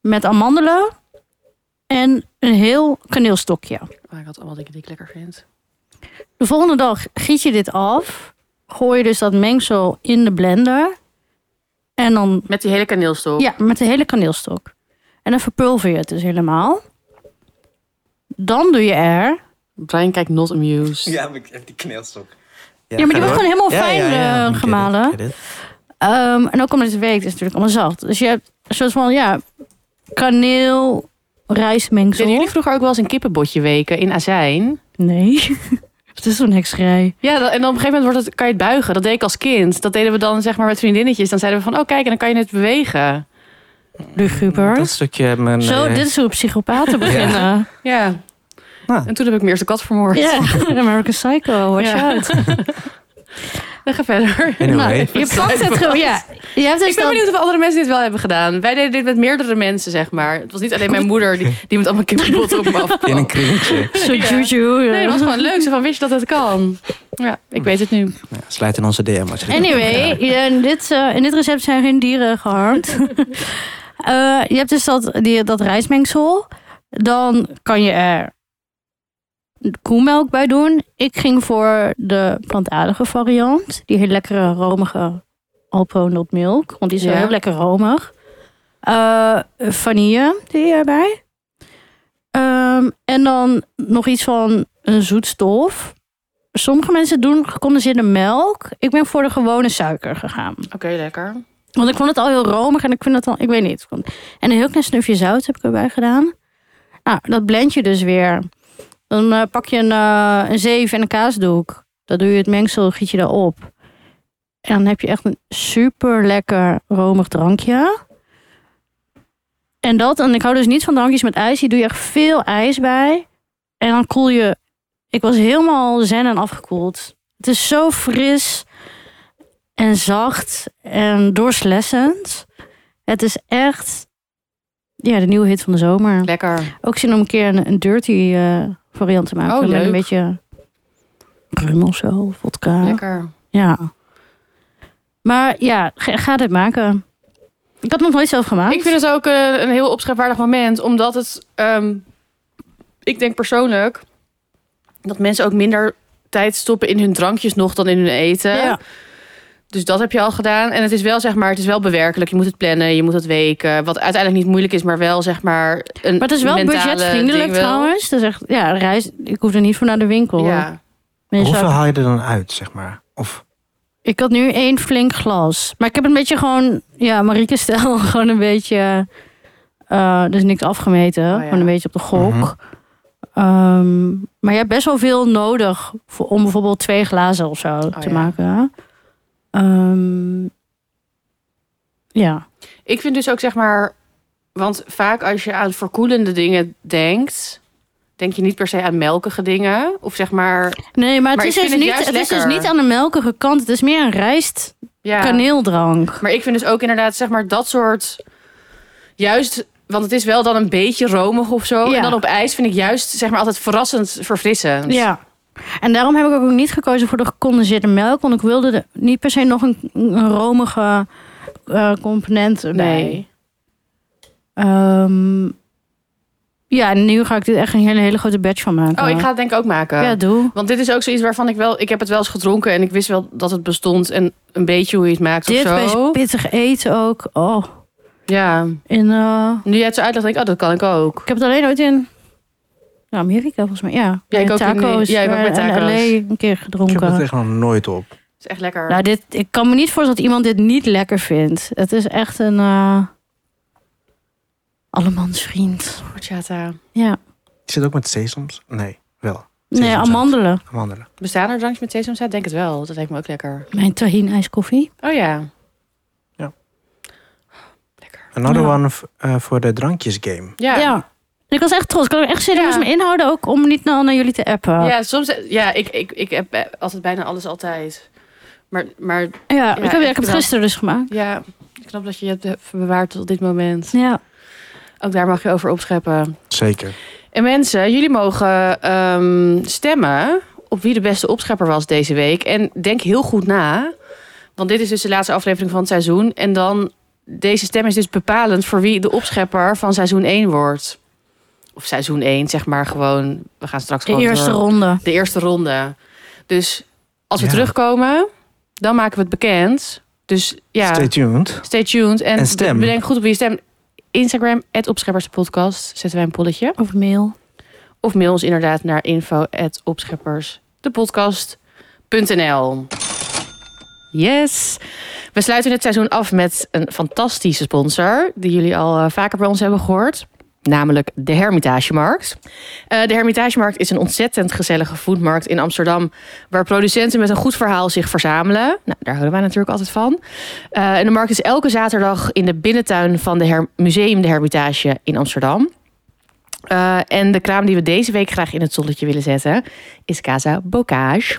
A: met amandelen en een heel kaneelstokje.
B: Oh, ik had allemaal dingen die ik lekker vind.
A: De volgende dag giet je dit af. Gooi je dus dat mengsel in de blender. En dan
B: Met die hele kaneelstok.
A: Ja, met de hele kaneelstok. En dan verpulver je het dus helemaal. Dan doe je er...
B: Brian kijkt not amused.
C: Ja, maar ik heb die kneelstok.
A: Ja, maar die wordt gewoon helemaal fijn eh,
C: Ik weet
A: gemalen.
C: het, ik weet
A: Ehm, en ook omdat het werkt, is het natuurlijk allemaal zacht. Dus je hebt een soort van, ja, kaneel, rijstmengsel.
B: Deden jullie vroeger ook wel eens een kippenbotje weken in azijn?
A: Nee. het is zo'n hekserij.
B: Ja, dat- en dan op een gegeven moment wordt het, kan je het buigen. Dat deed ik als kind. Dat deden we dan zeg maar met vriendinnetjes. Dan zeiden we van, oh kijk, en dan kan je het bewegen.
C: het. Dat
A: Luguber.
C: stukje heb mijn...
A: Zo,
C: eh,
A: dit is hoe psychopaten beginnen.
B: Ja.
C: Nou.
B: En toen heb ik mijn eerste kat vermoord.
A: Ja, American Psycho, watch
B: Ja.
A: out.
B: Dan ga verder.
A: Nou,
C: Anyway.
A: je pakt het gewoon, ja. Je hebt dus
B: Ik ben
A: dan-
B: benieuwd of andere mensen dit wel hebben gedaan. Wij deden dit met meerdere mensen, zeg maar. Het was niet alleen mijn moeder die, die met allemaal kippenbotten op me
C: In
A: nou.
C: een
B: afkwam.
C: kringetje.
A: Zo
B: Ja.
A: juju. eh, ja.
B: Nee, dat was gewoon leuk. Ze van, wist je dat het kan? Ja, ik weet het nu.
C: Ja, sluit in onze DM. als je-
A: Anyway, in dit, eh, in dit recept zijn geen dieren geharmd. Eh, je hebt dus dat, die, dat rijstmengsel. Dan kan je er koemelk bij doen. Ik ging voor de plantaardige variant. Die heel lekkere, romige Alpro Not Milk. Want die is wel
B: Ja.
A: heel lekker romig. Eh, vanille doe je erbij. Ehm, en dan nog iets van een zoetstof. Sommige mensen doen gecondenseerde melk. Ik ben voor de gewone suiker gegaan.
B: Oké, lekker.
A: Want ik vond het al heel romig en ik vind het al, ik weet niet. En een heel klein snufje zout heb ik erbij gedaan. Nou, dat blend je dus weer. Dan eh, pak je een, eh, een zeef en een kaasdoek. Dan doe je het mengsel, giet je erop. En dan heb je echt een super lekker romig drankje. En dat, en ik hou dus niet van drankjes met ijs. Hier doe je echt veel ijs bij. En dan koel je. Ik was helemaal zen en afgekoeld. Het is zo fris en zacht en doorslessend. Het is echt ja, de nieuwe hit van de zomer.
B: Lekker.
A: Ook zin om een keer een, een dirty eh, variant te maken.
B: Oh,
A: met
B: leuk.
A: Een beetje rum of zo, vodka.
B: Lekker.
A: Ja. Maar ja, ga, ga dit maken. Ik had het nog nooit zelf gemaakt.
B: Ik vind het ook eh, een heel opschrijfwaardig moment, omdat het. ehm, ik denk persoonlijk dat mensen ook minder tijd stoppen in hun drankjes nog dan in hun eten.
A: Ja.
B: Dus dat heb je al gedaan. En het is wel, zeg maar, het is wel bewerkelijk. Je moet het plannen, je moet het weken. Wat uiteindelijk niet moeilijk is, maar wel, zeg maar, een
A: Maar het is wel
B: mentale
A: budgetvriendelijk
B: ding wel.
A: trouwens. Dat is echt, ja, reis, ik hoef er niet voor naar de winkel.
B: Ja.
A: Mensen-
C: Hoeveel haal je er dan uit, zeg maar? Of
A: Ik had nu één flink glas. Maar ik heb een beetje gewoon, ja, Marieke stel, gewoon een beetje, eh, dus niks afgemeten,
B: Oh ja.
A: gewoon een beetje op de gok.
C: Mhm.
A: Ehm, maar je hebt best wel veel nodig voor, om bijvoorbeeld
B: Oh
A: twee glazen of zo te
B: ja.
A: maken. Ehm, Ja.
B: Ik vind dus ook zeg maar, want vaak als je aan verkoelende dingen denkt, denk je niet per se aan melkige dingen. Of zeg maar,
A: Nee, maar het,
B: Maar
A: is,
B: ik vind
A: dus
B: het
A: niet,
B: juist
A: het is dus
B: lekker.
A: niet aan de melkige kant. Het is meer een rijst
B: ja.
A: kaneeldrank.
B: Maar ik vind dus ook inderdaad, zeg maar, dat soort. Juist, want het is wel dan een beetje romig of zo.
A: Ja.
B: En dan op ijs vind ik juist, zeg maar, altijd verrassend verfrissend.
A: Ja. En daarom heb ik ook niet gekozen voor de gecondenseerde melk. Want ik wilde er niet per se nog een, een romige eh, component bij.
B: Nee.
A: Ehm, ja, en nu ga ik dit echt een hele, hele grote batch van maken.
B: Oh, ik ga het denk ik ook maken.
A: Ja, doe.
B: Want dit is ook zoiets waarvan ik wel... Ik heb het wel eens gedronken en ik wist wel dat het bestond. En een beetje hoe je het maakt
A: Dit
B: of
A: best
B: zo.
A: pittig eten ook. Oh,
B: Ja.
A: in, eh,
B: Nu jij het zo uitlegt, denk ik, oh, dat kan ik ook.
A: ik heb het alleen ooit in nou, Amerika volgens mij. Ja,
B: Ja, ik
A: bij
B: ook in-
A: taco's.
B: ja, ik ook bij
A: eh, in
B: taco's.
A: LA een keer
C: Ik heb
A: gedronken.
C: dat echt nog nooit op.
B: Het is echt lekker.
A: Nou, dit, ik kan me niet voorstellen dat iemand dit niet lekker vindt. Het is echt een eh allemansvriend.
B: Horchata.
A: Ja.
C: Is het ook met sesams? Nee, wel.
A: Nee,
C: Sesamzaad.
A: amandelen.
C: Amandelen.
B: Bestaan er drankjes met sesamzaad? Denk het wel. Dat lijkt me ook lekker.
A: Mijn tahin ijskoffie.
B: Oh ja.
C: Ja.
B: Lekker.
C: Another
A: Ja.
C: one f- eh, voor de drankjes game.
A: Ja. Ik was echt trots. Ik kan er echt serieus
B: Ja.
A: me inhouden ook om niet nou naar jullie te appen.
B: Ja, soms. Ja, ik, ik, ik heb eh, altijd bijna alles altijd. Maar, maar
A: Ja, ik, heb, ik
B: echt
A: heb het
B: wel.
A: gisteren dus gemaakt.
B: ja, ik snap dat je het hebt bewaard tot dit moment.
A: Ja.
B: Ook daar mag je over opscheppen.
C: Zeker.
B: En mensen, jullie mogen ehm, stemmen op wie de beste opschepper was deze week. En denk heel goed na. Want dit is dus de laatste aflevering van het seizoen. En dan, deze stem is dus bepalend voor wie de opschepper van seizoen 1 wordt. Of seizoen 1, zeg maar gewoon. We gaan straks
A: De
B: gewoon
A: eerste
B: door.
A: ronde.
B: de eerste ronde. Dus als we
C: Ja.
B: terugkomen, dan maken we het bekend. Dus ja,
C: Stay
B: stay,
C: tuned.
B: tuned. En,
C: En stem.
B: Bedenk goed op wie je stemt. Instagram, opschepperspodcast, zetten wij een polletje.
A: Of mail.
B: Of mail ons inderdaad naar info opscheppersdepodcast.nl Yes. We sluiten het seizoen af met een fantastische sponsor... die jullie al eh, vaker bij ons hebben gehoord. Namelijk de Hermitagemarkt. Eh, de Hermitagemarkt is een ontzettend gezellige foodmarkt in Amsterdam... waar producenten met een goed verhaal zich verzamelen. Nou, daar houden wij natuurlijk altijd van. Eh, en de markt is elke zaterdag in de binnentuin van het Museum de Hermitage in Amsterdam. Eh, en de kraam die we deze week graag in het zonnetje willen zetten is Casa Bocage.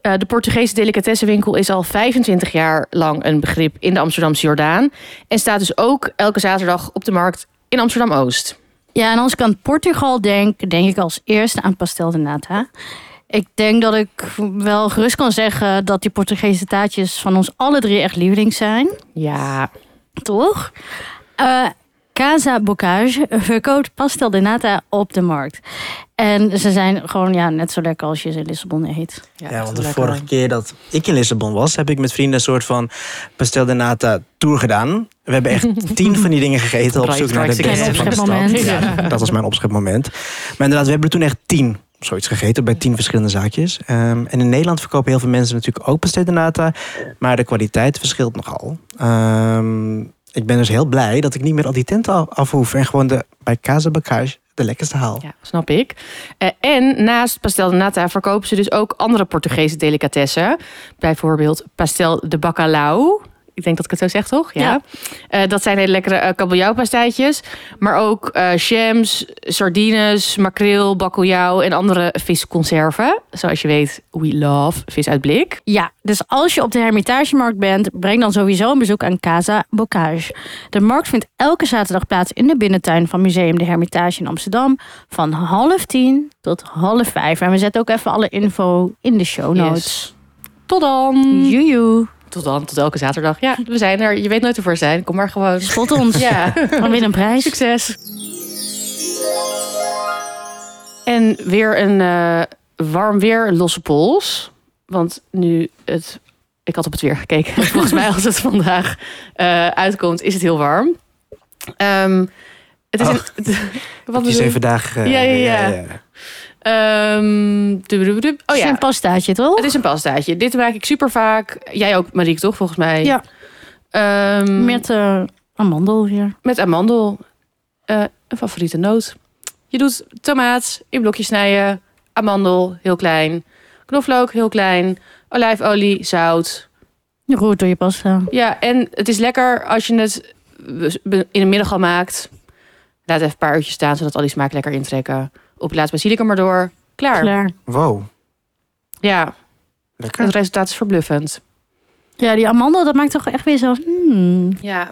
B: Eh, de Portugese delicatessenwinkel is al 25 jaar lang een begrip in de Amsterdamse Jordaan. En staat dus ook elke zaterdag op de markt in Amsterdam Oost.
A: Ja, en als ik aan Portugal denk, denk ik als eerste aan pastel de nata. Ik denk dat ik wel gerust kan zeggen dat die Portugese taartjes van ons alle drie echt lievelings zijn.
B: Ja,
A: Toch? Eh, Casa Bocage verkoopt pastel de nata op de markt. En ze zijn gewoon ja, net zo lekker als je ze in Lissabon eet.
C: Ja,
B: echt
C: want de
B: lekker.
C: vorige keer dat ik in Lissabon was, heb ik met vrienden een soort van pastel de nata tour gedaan. We hebben echt tien van die dingen gegeten op
B: Right,
C: zoek naar de
B: right,
A: again.
C: beste van de stad.
A: Opschepmoment.
C: Ja, dat was mijn opschepmoment. Maar inderdaad, we hebben toen echt tien of zoiets gegeten bij tien verschillende zaakjes. Ehm, en in Nederland verkopen heel veel mensen natuurlijk ook pastel de nata, maar de kwaliteit verschilt nogal. Ehm, ik ben dus heel blij dat ik niet meer al die tenten af, af hoef en gewoon de, bij Casa Bacage de lekkerste haal.
B: Ja, snap ik. Eh, en naast pastel de nata verkopen ze dus ook andere Portugese delicatessen. Bijvoorbeeld pastel de bacalhau. Ik denk dat ik het zo zeg, toch? Ja.
A: Ja.
B: Eh, dat zijn hele lekkere eh, kabeljauwpastijtjes. Maar ook eh shams, sardines, makreel, bakkeljauw en andere visconserven. Zoals je weet, we love vis uit blik.
A: Ja, dus als je op de Hermitagemarkt bent, breng dan sowieso een bezoek aan Casa Bocage. De markt vindt elke zaterdag plaats in de binnentuin van Museum de Hermitage in Amsterdam van half tien tot half vijf. En we zetten ook even alle info in de show notes.
B: Tot dan!
A: Mm. Joejoe,
B: Tot dan, tot elke zaterdag. Ja, we zijn er. Je weet nooit ervoor zijn. Kom maar gewoon.
A: spot ons.
B: Ja.
A: Dan win een prijs.
B: Succes. En weer een eh, warm weer losse pols. Want nu het... Ik had op het weer gekeken. Volgens mij als het vandaag eh, uitkomt, is het heel warm. Ehm, het is
C: Oh.
B: een... wat
C: Het is
B: bedoel je?
C: even dagen. eh,
B: Ja, ja, ja. Ehm, dubbedubbedub. oh
A: Het is
B: ja,
A: een pastaatje, toch?
B: het is een pastaatje. Dit maak ik super vaak. Jij ook, Marieke, toch? Volgens mij.
A: Ja.
B: Ehm,
A: Met eh, amandel weer.
B: met amandel. Eh, een favoriete noot. Je doet tomaat in blokjes snijden. Amandel, heel klein. Knoflook, heel klein. Olijfolie, zout.
A: Je roert door je eh, pasta.
B: Ja, en het is lekker als je het eh, in de middag al maakt. Laat even een paar uurtjes staan, zodat al die smaak lekker intrekken. Op laatst basilicum maar door. Klaar.
A: Klaar.
C: Wow,
B: Ja, het
C: lekker.
B: resultaat is verbluffend.
A: Ja, die amandel, dat maakt toch echt weer zo... hmm.
B: Ja,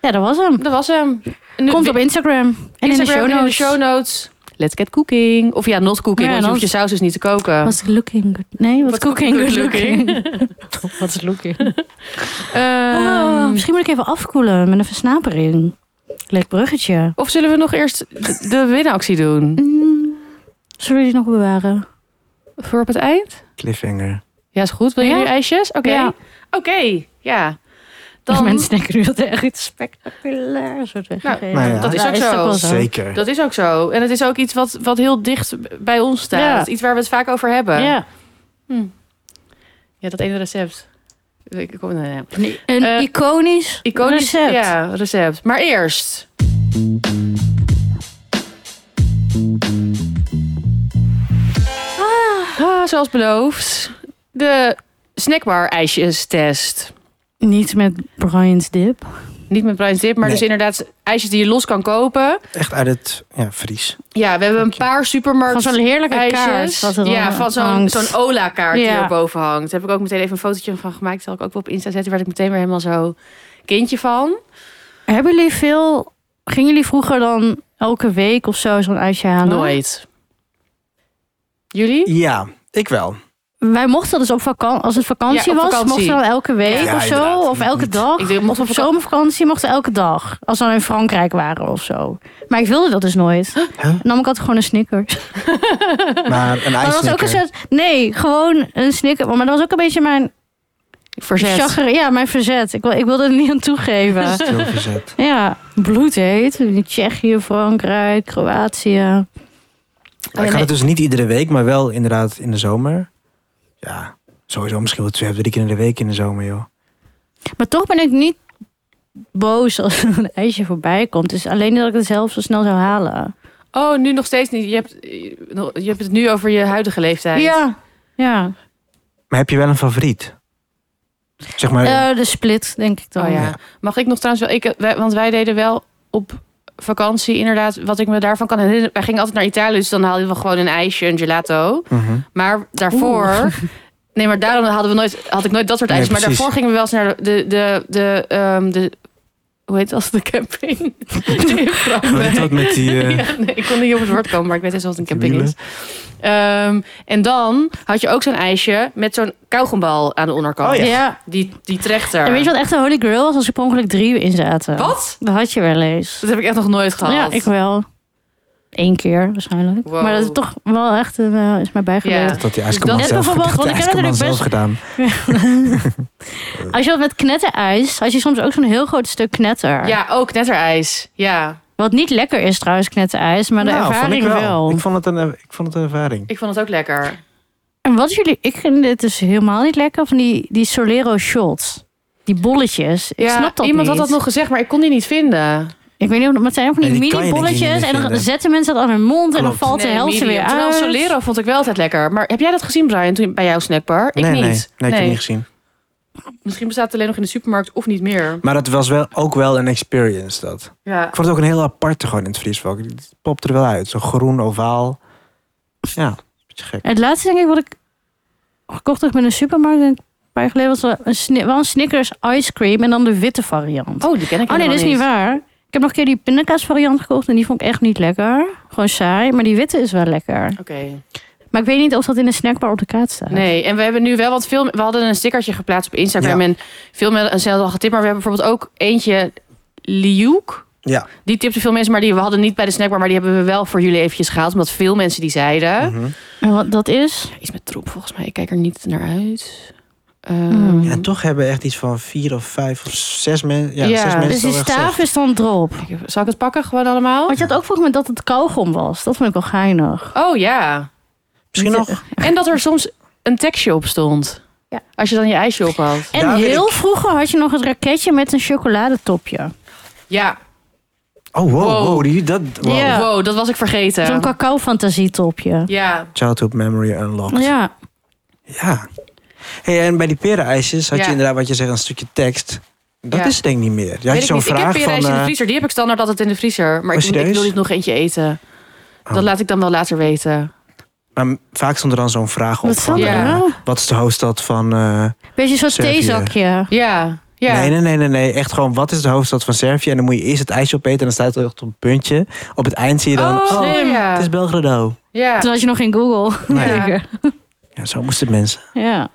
A: Ja, dat was hem.
B: dat was hem. En nu-
A: Komt op Instagram. En in de
B: Instagram
A: show
B: en in de
A: notes.
B: show notes. Let's get cooking. Of ja, not cooking,
A: Ja,
B: want je
A: not-
B: hoeft je saus dus niet te koken.
A: Was looking good. Nee, was
B: Wat
A: cooking
B: goed
A: good looking. Wat is looking?
B: Ehm,
A: misschien moet ik even afkoelen met een versnapering. Leuk bruggetje.
B: Of zullen we nog eerst de- de winactie doen?
A: Mm, zullen we die nog bewaren?
B: Voor op het eind?
C: Cliffhanger.
B: Ja, is goed. Wil je
A: Ja.
B: nu ijsjes? Oké.
A: Ja.
B: Oké, ja. Dan,
A: Mensen denken nu dat er echt iets spectaculairs wordt weggegeven.
C: Nou, nou ja.
B: dat is ook zo.
A: wel
C: Zeker.
B: Dat is ook zo. En het is ook iets wat, wat heel dicht bij ons staat.
A: Ja.
B: Iets waar we het vaak over hebben.
A: Ja.
B: Ja, dat ene recept. Ik kom, nee, nee.
A: Een, een
B: Eh,
A: iconisch,
B: Iconisch
A: recept.
B: Ja, recept. Maar eerst. Ah, zoals beloofd. De snackbar ijsjes test.
A: Niet met Brian's dip.
B: Niet met Brian's Dip, maar
C: Nee.
B: dus inderdaad ijsjes die je los kan kopen.
C: Echt uit het ja, Fries.
B: Ja, we hebben een paar
A: Van
B: supermarkt
A: zo'n heerlijke
B: ijsjes.
A: kaart. wat er
B: ja,
A: dan
B: van zo'n
A: hangt.
B: zo'n Ola-kaart die
A: Ja.
B: erboven hangt. Daar heb ik ook meteen even een fotootje van gemaakt. Dat zal ik ook wel op Insta zetten. Werd ik meteen weer helemaal zo kindje van.
A: Hebben jullie veel... Gingen jullie vroeger dan elke week of zo zo'n ijsje halen?
B: Nooit. Jullie?
C: Ja, ik wel.
A: Wij mochten dus op vakantie, als het vakantie
B: Ja, op
A: was,
B: vakantie.
A: mochten we dan elke week
C: Ja,
A: of zo.
C: inderdaad.
A: Of elke
C: Niet-
A: dag.
B: Ik denk,
A: Of
B: mocht
A: op
B: op vakantie-
A: zomervakantie mochten we elke dag. Als we dan in Frankrijk waren of zo. Maar ik wilde dat dus nooit. Dan nam ik altijd gewoon een Snickers.
C: Maar een
A: Maar dat was ook een
C: ijsnikker.
A: soort... Nee, gewoon een Snickers. Maar dat was ook een beetje mijn
B: Verzet.
A: chagrin. Ja, mijn verzet. Ik, wil- ik wilde er niet aan toegeven.
C: Stil verzet.
A: ja, bloedheet. In Tsjechië, Frankrijk, Kroatië.
C: Maar ik
B: nee.
C: ga het dus niet iedere week, maar wel inderdaad in de zomer. Ja, sowieso misschien wel twee of drie keer in de week in de zomer, joh.
A: Maar toch ben ik niet boos als er een ijsje voorbij komt. Dus alleen dat ik het zelf zo snel zou halen.
B: Oh, nu nog steeds niet. Je hebt, je hebt het nu over je huidige leeftijd.
A: Ja. Ja.
C: Maar heb je wel een favoriet? Zeg maar,
A: Eh, de split, denk ik dan.
B: Oh, ja.
C: Ja.
B: Mag ik nog trouwens wel... Ik, eh, wij- want wij deden wel op vakantie inderdaad... Wat ik me daarvan kan herinneren... Wij gingen altijd naar Italië, dus dan haalden we gewoon een ijsje, een gelato.
C: mhm.
B: Maar daarvoor... Nee, maar daarom hadden we nooit, had ik nooit dat soort
C: Nee,
B: ijsjes. maar
C: precies.
B: daarvoor gingen we wel eens naar de... de, de, de, ehm, de hoe heet dat? De camping? In
C: Hoe
B: Frankrijk.
C: heet dat met die... eh,
B: Ja, nee, ik kon niet op het woord komen, maar ik weet eens wat een
C: Die
B: camping is. Ehm, en dan had je ook zo'n ijsje met zo'n kauwgombal aan de onderkant.
A: Ja.
C: Oh, Ja.
B: Die, die trechter.
A: En weet je wat echt de holy grail was? Als er per ongeluk drie in zaten.
B: Wat?
A: Dat had je wel eens.
B: Dat heb ik echt nog nooit gehad.
A: Ja, ik wel. Eén keer waarschijnlijk.
B: Wow.
A: Maar dat is toch wel echt een, eh, is mij bijgebleven.
B: Ja.
C: Dat die ijskamman
A: Dat-
C: zelf,
A: Net bijvoorbeeld,
C: dat
A: want
C: die
A: ik heb
C: ijskamman zelf
A: natuurlijk
C: gedaan.
A: Als je dat met knetterijs, had je soms ook zo'n heel groot stuk knetter.
B: Ja, ook netterijs. Ja,
A: Wat niet lekker is trouwens, knetterijs, maar de
C: Nou, vond
A: ervaring
C: ik
A: wel.
C: Ik vond het een, eh, ik vond het een ervaring.
B: ik vond het ook lekker.
A: En wat is jullie, ik vind dit dus helemaal niet lekker, van die, die Solero shots. Die bolletjes. Ik
B: ja,
A: snap dat
B: iemand
A: niet.
B: had dat nog gezegd, maar ik kon die niet vinden.
A: Ik weet niet of dat maar het zijn van die
C: Nee, die kan
A: mini
C: je denk ik niet
A: bolletjes.
C: meer
A: En dan
C: vinden.
A: zetten mensen dat aan hun mond en dan
C: Klopt.
A: valt de helft er weer
B: medium. Terwijl
A: uit.
B: Solero vond ik wel altijd lekker. Maar heb jij dat gezien, Brian, toen bij jouw snackbar? Ik
C: nee,
B: niet.
C: nee, nee, ik heb het niet gezien.
B: Misschien bestaat het alleen nog in de supermarkt of niet meer.
C: Maar dat was wel, ook wel een experience, dat.
B: Ja.
C: Ik vond het ook een heel aparte gewoon in het vriesvak. Het popte er wel uit. Zo'n groen ovaal. Ja, beetje gek.
A: Het laatste denk ik wat ik gekocht heb met een supermarkt een paar jaar geleden was wel een, sni- wel een Snickers ice cream en dan de witte variant.
B: Oh, die ken ik
A: Oh nee, dat is niet waar. Ik heb nog een keer die pindakaas variant gekocht en die vond ik echt niet lekker. Gewoon saai, maar die witte is wel lekker.
B: Oké.
A: Maar ik weet niet of dat in een snackbar op de kaart staat.
B: Nee, en we hebben nu wel wat film. We hadden een stickertje geplaatst op Instagram
C: Ja.
B: en veel mensen zelf al getipt. Maar we hebben bijvoorbeeld ook eentje Liuk.
C: Ja.
B: Die tipte veel mensen, maar die we hadden niet bij de snackbar, maar die hebben we wel voor jullie eventjes gehaald, omdat veel mensen die zeiden.
C: Mhm.
A: En wat dat is?
B: Iets met troep volgens mij. Ik kijk er niet naar uit. Ehm,
A: Mm.
C: En toch hebben echt iets van vier of vijf of zes, men, ja,
B: Ja,
C: zes mensen.
A: Dus
C: al
A: die
C: echt
A: staaf
C: gezegd.
A: is dan drop.
B: ik- Zal ik het pakken gewoon allemaal?
A: Want je had ook volgens mij dat het kauwgom was. Dat vond ik wel geinig.
B: Oh ja.
C: Misschien
A: Niet-
C: nog.
B: En dat er soms een tekstje op stond.
A: Ja.
B: Als je dan je ijsje op had.
A: En
C: Daar wil
A: heel vroeger had je nog het raketje met een chocoladetopje.
B: Ja.
C: Oh, wow.
B: Wow.
C: wow die, dat, wow.
A: Ja.
B: Wow, dat was ik vergeten.
A: Zo'n cacao fantasietopje.
B: Ja.
C: Childhood memory unlocked.
A: Ja,
C: Ja. Hey, en bij die perenijsjes had
B: Ja.
C: je inderdaad wat je zegt, een stukje tekst. Dat
B: Ja.
C: is het denk ik niet meer. Je
B: Weet
C: had
B: ik
C: zo'n
B: niet. Ik heb
C: vraag van...
B: perenijs in de
C: eh,
B: vriezer. Die heb ik standaard altijd in de vriezer. Maar
C: Oh,
B: ik, ik wil
C: serieus?
B: niet nog eentje eten. Dat
C: Oh.
B: laat ik dan wel later weten.
C: maar vaak stond er dan zo'n vraag op
A: Wat
C: van...
A: zal er
B: Ja.
C: eh,
A: nou?
C: Wat is de hoofdstad van... eh,
A: Beetje zo'n
C: Servië.
A: theezakje.
B: Ja, ja.
C: Nee, nee, nee, nee, nee. Echt gewoon, wat is de hoofdstad van Servië? En dan moet je eerst het ijsje opeten en dan staat er echt op een puntje. Op het eind zie je dan...
B: oh, slim.
C: het
B: Ja.
C: is Belgrado.
B: ja.
A: Toen had je nog geen Google.
C: Nee.
B: Ja.
A: Zeker.
C: Nou Ja, zo moesten mensen.
A: Ja.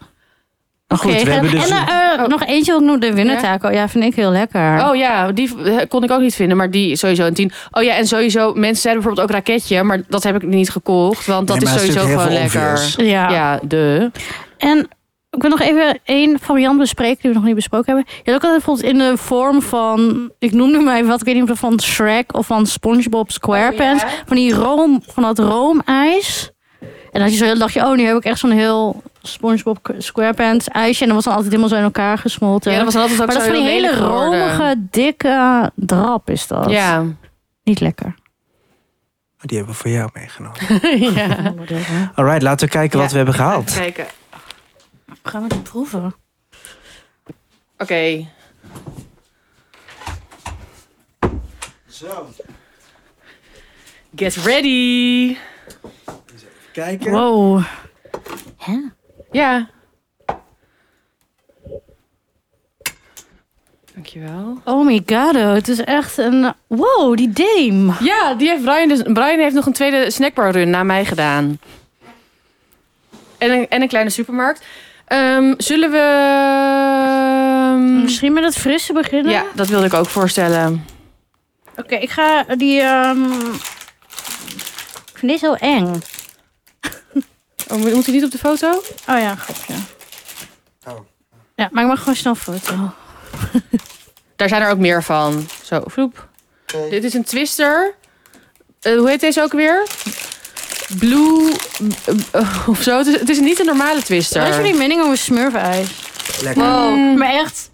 C: Maar goed,
A: Oké,
C: we hebben dus...
A: En eh, eh,
B: Oh.
A: nog eentje ook nog de winnetaco. Ja, vind ik heel lekker.
B: Oh ja, die eh, kon ik ook niet vinden, maar die sowieso een 10. Oh ja, en sowieso, mensen zeiden bijvoorbeeld ook raketje, maar dat heb ik niet gekocht, want dat
C: Nee,
B: is
C: maar het is
B: sowieso
C: natuurlijk
B: gewoon
C: heel veel
B: lekker.
A: Ja.
B: Ja, de.
A: En ik wil nog even één variant bespreken die we nog niet besproken hebben. Je had ook altijd bijvoorbeeld in de vorm van, ik noemde mij wat, ik weet niet of dat van Shrek of van SpongeBob
B: Oh,
A: SquarePants, van die room, van dat roomijs. En dan had je zo heel dacht je, oh nu heb ik echt zo'n heel SpongeBob SquarePants ijsje en dat was dan altijd helemaal zo in elkaar gesmolten.
B: Ja, dat was dan altijd ook
A: maar dat
B: zo
A: is van die
B: heel
A: hele
B: lelijk geworden.
A: romige, dikke drap is dat.
B: Ja.
A: Niet lekker.
C: Die hebben we voor jou meegenomen.
B: ja.
C: Alright, laten we kijken
B: Ja.
C: wat we hebben gehaald.
B: Even kijken.
A: Gaan we dat proeven?
B: Oké.
C: Zo,
B: Get ready.
C: kijken.
A: Wow.
B: Ja. Dankjewel.
A: Oh my god, oh, het is echt een... Wow, die deem.
B: Ja, die heeft Brian, dus, Brian heeft nog een tweede snackbar run na mij gedaan. En een, en een kleine supermarkt. Ehm, zullen we... ehm,
A: Misschien met het frisse beginnen?
B: Ja, dat wilde ik ook voorstellen.
A: Oké, ik ga die... ehm, Ik vind deze heel eng.
B: Oh, moet moet hij niet op de foto?
A: Oh ja, grapje.
C: Oh.
A: Ja, maar ik mag gewoon snel een foto.
B: Daar zijn er ook meer van. Zo, vloep. Dit is een twister. Eh, hoe heet deze ook weer? Blue... eh, of zo. Het is, het is niet een normale twister.
A: Wat is jullie mening over smurfijs?
C: Lekker.
B: Wow.
A: Maar echt...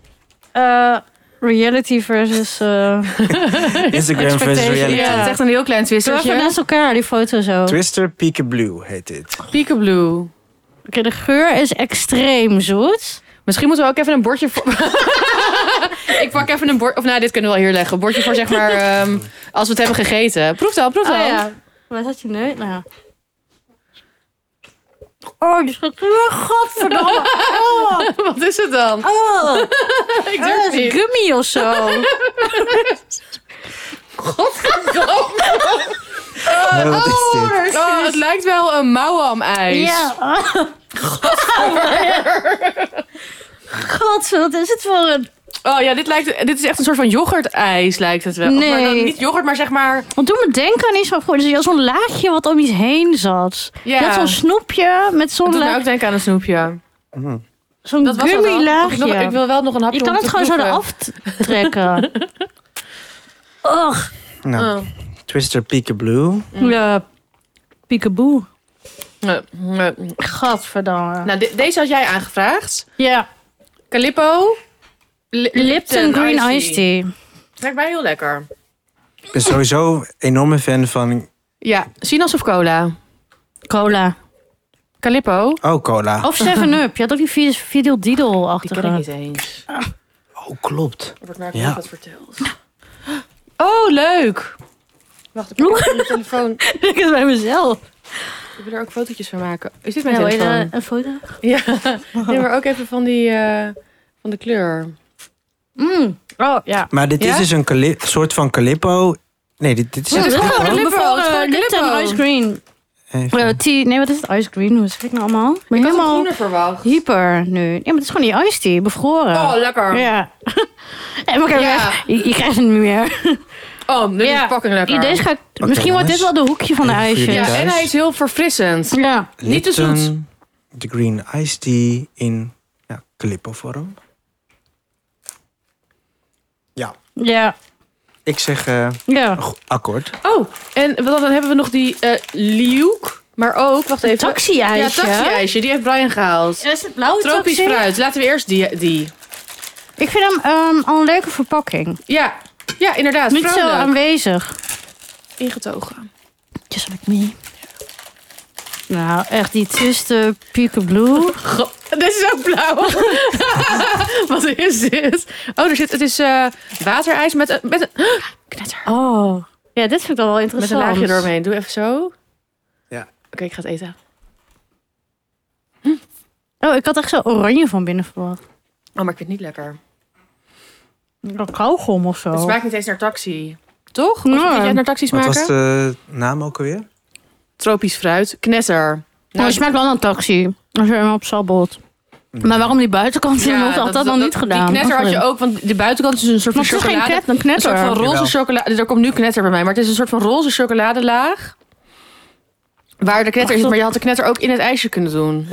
A: eh, reality versus... eh
C: Instagram versus
B: Expectation.
C: reality.
B: Ja, het is echt een heel klein
A: Doe even
B: twistertje.
A: naast elkaar die foto zo. Oké,
C: Twister Peekaboo heet dit.
B: Oh, Peekaboo.
A: de geur is extreem zoet.
B: Misschien moeten we ook even een bordje voor. ik pak even een bord. Of nou, dit kunnen we wel hier leggen. Een bordje voor zeg maar. ehm, als we het hebben gegeten. Proef dan, proef
A: Oh
B: dan.
A: ja. Waar zat je neus? Nou ja. Oh, die schiet weer. Godverdomme. Oh,
B: Wat is het dan? Ah,
A: oh.
B: ik
A: Oh,
B: durf
A: dat
B: het
A: is
B: niet.
A: gummy of zo.
C: Nee, wat is dit?
B: Oh, het lijkt wel een mouwam-ijs.
A: Ja. God, wat is het voor een...
B: Oh ja, dit, lijkt, dit is echt een soort van yoghurt-ijs, lijkt het wel.
A: Nee.
B: Maar dan niet yoghurt, maar zeg maar.
A: Want doe me denken aan iets van vroeger. Dus je had zo'n laagje wat om iets heen zat.
B: Ja,
A: Je had zo'n snoepje met
B: dat
A: zo'n
B: doet mij
A: la-
B: ook denken aan een snoepje.
C: Mm-hmm.
A: zo'n
B: Dat was het
A: gummy
B: al. Mag Ik, nog- ik
A: laagje.
B: wil wel nog een hapje
A: Je kan
B: om
A: het
B: te
A: gewoon zo
B: proeven.
A: eraf t- trekken. Och,
C: Nou,
B: Oh.
C: Twister Peekaboo.
A: ja. Peekaboo.
B: Nee, nee.
A: Gadverdamme.
B: Oh. Nou, de- deze had jij aangevraagd.
A: ja.
B: Calippo. Li-
A: Lipton Green
B: iced
A: Iced Tea.
B: Lijkt mij heel lekker.
C: Ik ben sowieso een enorme fan van...
B: Ja, sinaas of cola?
A: Cola.
B: Calippo?
C: Oh, cola.
A: Of 7-Up. Je had ook die video- video Didel-achtige.
B: eens.
C: Oh, klopt.
B: Er wordt maar
C: Ja.
B: wat verteld. Oh, leuk! Wacht, ik pak even mijn telefoon.
A: Ik heb het bij mezelf.
B: Ik wil er ook fotootjes van maken. Is dit mijn
A: Ja, wil je daar
B: telefoon?
A: een foto?
B: Ja, neem maar ook even van die... eh, van de kleur.
A: Mm. Oh, ja.
C: Maar dit
B: Ja?
C: is dus een cali- soort van Calippo. Nee, dit, dit is
A: Ja,
C: echt
A: dit is gewoon
C: Calippo.
B: Calippo,
A: Lipton,
B: het is gewoon Calippo.
A: Ice Green.
C: Even.
A: Eh, tea- nee, wat is het? Ice Green? Hoe zeg ik nou allemaal? Ik ben
B: Ik had hem
A: helemaal
B: groener verwacht.
A: hyper nu. Ja, maar het is gewoon die iced tea, bevroren.
B: Oh, lekker.
A: ja. en maar kijk,
B: Ja.
A: weg. je, je krijgt het niet meer.
B: Oh, dit
A: Ja.
B: is fucking lekker.
A: Deze ga ik,
C: Oké,
A: misschien wordt dit wel
C: jongens.
A: de hoekje van de
C: Even voor
A: ijsjes.
C: jullie
A: Ja.
B: ja, en hij is heel verfrissend.
A: ja.
B: Niet te
C: Lipton,
B: zoet.
C: De green iced tea in ja, Calippo vorm. Ja,
A: Ja.
C: ik zeg eh,
A: Ja.
C: go- akkoord.
B: Oh, en wat- dan hebben we nog die eh Liuk. Maar ook, wacht even.
A: Taxi-ijsje.
B: Ja, taxi-ijsje. Die heeft Brian gehaald.
A: Ja, is het blauwe
B: Tropisch
A: taxi?
B: fruit. Laten we eerst die. die.
A: Ik vind hem ehm, al een leuke verpakking.
B: Ja. ja, inderdaad.
A: Niet zo
B: Vrouwelijk.
A: aanwezig.
B: Ingetogen.
A: Just like me. Nou, echt die eh, twiste Pieke Blue.
B: Go- Dit is ook blauw. Wat is dit? Oh, er zit, het is eh, waterijs met, een- met een knetter.
A: Oh. Ja, dit vind ik dan wel
B: Met een
A: interessant.
B: laagje eromheen. Doe even zo.
C: Ja.
B: Oké, ik ga het eten.
A: Oh, ik had echt zo oranje van binnen verwacht.
B: Oh, maar ik vind het niet lekker.
A: Een kauwgom of zo.
B: Het smaakt niet eens naar taxi. Oh. Toch?
A: Nee.
B: Of vind jij het naar taxi
C: Wat
B: smaken?
C: was de naam ook alweer?
B: Tropisch fruit. Knetter.
A: Nou, het smaakt wel naar een taxi. Als je hem op sabbelt. Maar waarom die buitenkant? Ja, had dat, dan niet gedaan?
B: Die knetter had je ook, want de buitenkant is een soort van
A: Maar het is geen
B: chocolade.
A: knet, een
B: Een soort van
A: knetter.
B: roze
C: Jawel.
B: chocolade. Er komt nu knetter bij mij, maar het is een soort van roze chocoladelaag. Waar de knetter
A: Ach,
B: is,
A: dat-
B: maar je had de knetter ook in het ijsje kunnen doen.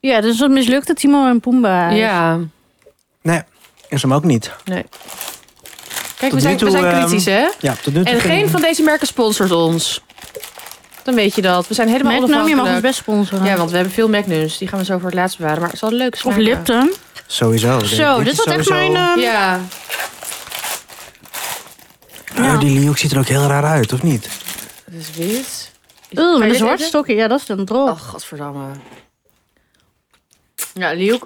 A: Ja, dus dat mislukte Timo en Pumba.
B: Ja.
C: Nee, is hem ook niet.
B: Kijk, we
C: nu
B: zijn,
C: toe,
B: we zijn
C: ehm,
B: kritisch, hè?
C: Ja, tot nu toe
B: En geen van deze merken sponsort ons. Dan weet je dat. We zijn helemaal
A: Magnum, nou je mag ons
B: onafhankelijk.
A: best sponsoren.
B: Ja, want we hebben veel Magnums. Die gaan we zo voor het laatst bewaren. Maar het zal leuk
A: of
B: smaken.
A: Lipton.
C: Sowieso.
A: Zo, dit
C: is
A: was echt
C: sowieso-
A: mijn... eh,
B: Ja.
A: ja.
C: Oh, die Linux ziet er ook heel raar uit, of niet?
B: Het is wit.
A: Oeh, met
B: Kan je
A: een
B: dit
A: zwart
B: eten?
A: stokje. Ja, dat is een drop.
B: Oh, godverdamme. Ja, Liuk.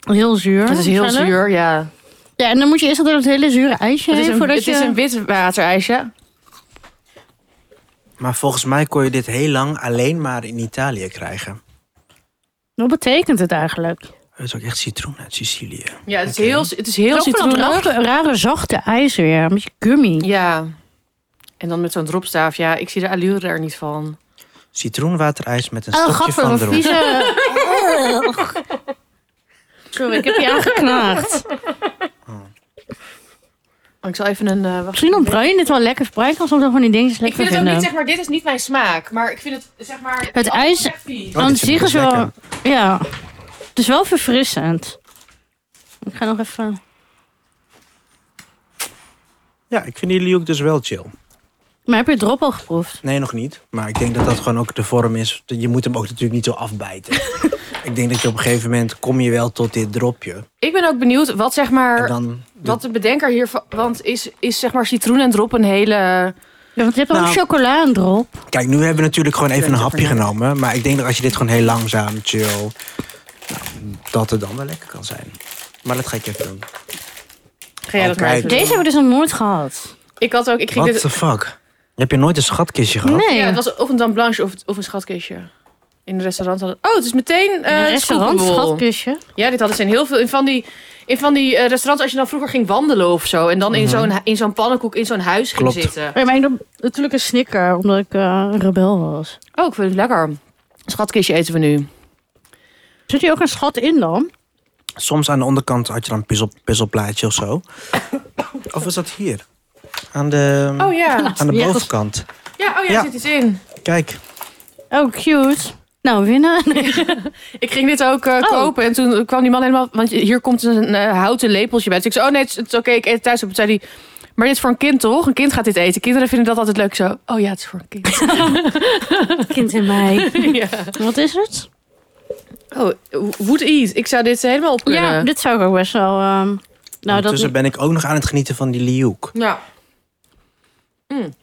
A: Heel zuur.
B: Het is heel
A: Verder.
B: zuur, ja.
A: Ja, en dan moet je eerst door het hele zure ijsje
B: Het is
A: heen
B: een,
A: voordat
B: het
A: je...
B: is een wit waterijsje.
C: Maar volgens mij kon je dit heel lang alleen maar in Italië krijgen.
A: Wat betekent het eigenlijk?
C: Het is ook echt citroen uit Sicilië.
B: Ja, het is
C: Oké.
B: heel, het is heel
A: Ook van dat
B: citroenig.
A: rare, rare zachte ijs weer. Een beetje gummy.
B: Ja. En dan met zo'n dropstaaf. Ja, ik zie de allure er niet van.
C: Citroenwaterijs met een
A: Oh,
C: stokje
A: gat
C: van
A: van
C: erop.
A: vieze... Ugh. Sorry, ik heb je aangeknaagd.
B: Ik zal even een... eh, wacht
A: Misschien dan bruin je dit wel lekker. Bruin kan soms wel van die dingetjes
B: Ik
A: lekker
B: vind het ook
A: vinden.
B: niet, zeg maar, dit is niet mijn smaak. Maar ik vind het, zeg maar...
A: Het
B: alles
A: ijs-
B: is echt vies.
C: Oh,
A: Aan
C: dit vind ik
A: zich is
C: best
A: wel...
C: lekker.
A: Ja. Het is wel verfrissend. Ik ga nog even...
C: Ja, ik vind die Liuk dus wel chill.
A: Maar heb je drop al geproefd?
C: Nee, nog niet. Maar ik denk dat dat gewoon ook de vorm is. Je moet hem ook natuurlijk niet zo afbijten. ik denk dat je op een gegeven moment kom je wel tot dit dropje.
B: Ik ben ook benieuwd wat, zeg
C: En
B: maar...
C: dan
B: Wat de bedenker hiervan... Want is, is zeg maar citroen en drop een hele...
A: Ja, want je hebt ook
C: Nou.
A: een chocoladendrop.
C: Kijk, nu hebben we natuurlijk gewoon even een
B: Puntje
C: hapje
B: voor net.
C: genomen. Maar ik denk dat als je dit gewoon heel langzaam, chill... nou, dat het dan wel lekker kan zijn. Maar dat ga ik even doen.
B: Ga jij dat
C: Oh,
B: maar even
C: kijk.
B: doen?
A: Deze hebben we dus nog nooit gehad.
B: Ik had ook... Ik ging dit,
C: What the fuck? Heb je nooit een schatkistje gehad?
A: Nee.
B: Ja, het was of een dame blanche of, of een schatkistje. In een restaurant hadden... Oh, het is meteen eh
A: een restaurant,
B: scoopable.
A: schatkistje.
B: Ja, dit hadden ze in heel veel. In van die, in van die eh, restaurants, als je dan vroeger ging wandelen of zo. En dan in zo'n hu- in zo'n pannenkoek in zo'n huis
C: Klopt.
B: ging zitten.
A: Nee, maar ik nam natuurlijk een snicker, omdat ik eh, een rebel was.
B: Oh, ik vind het lekker. Schatkistje eten we nu.
A: Zit hier ook een schat in dan?
C: Soms aan de onderkant had je dan een puzzel, puzzelplaatje of zo. of was dat hier? Aan de,
B: Oh ja.
C: aan de
A: Ja, dat-
C: bovenkant.
B: Ja, oh ja,
C: Ja.
B: er zit iets in.
C: Kijk,
A: Oh, cute. Nou, winnen.
B: Ik ging dit ook eh,
A: Oh.
B: kopen en toen kwam die man helemaal... Want je- hier komt een eh, houten lepeltje bij. Dus ik zei, oh nee, het is, het is oké, ik eet het thuis op. Toen zei hij, maar dit is voor een kind toch? Een kind gaat dit eten. Kinderen vinden dat altijd leuk Ik zo. Oh ja, het is voor een kind.
A: Kind in mij.
B: ja.
A: Wat is het?
B: Oh, would eat. Ik zou dit helemaal op kunnen.
A: Ja, dit zou ik ook best wel... ehm, nou, dat
C: ondertussen ben ik ook nog aan het genieten van die liuk.
B: Ja. Mm.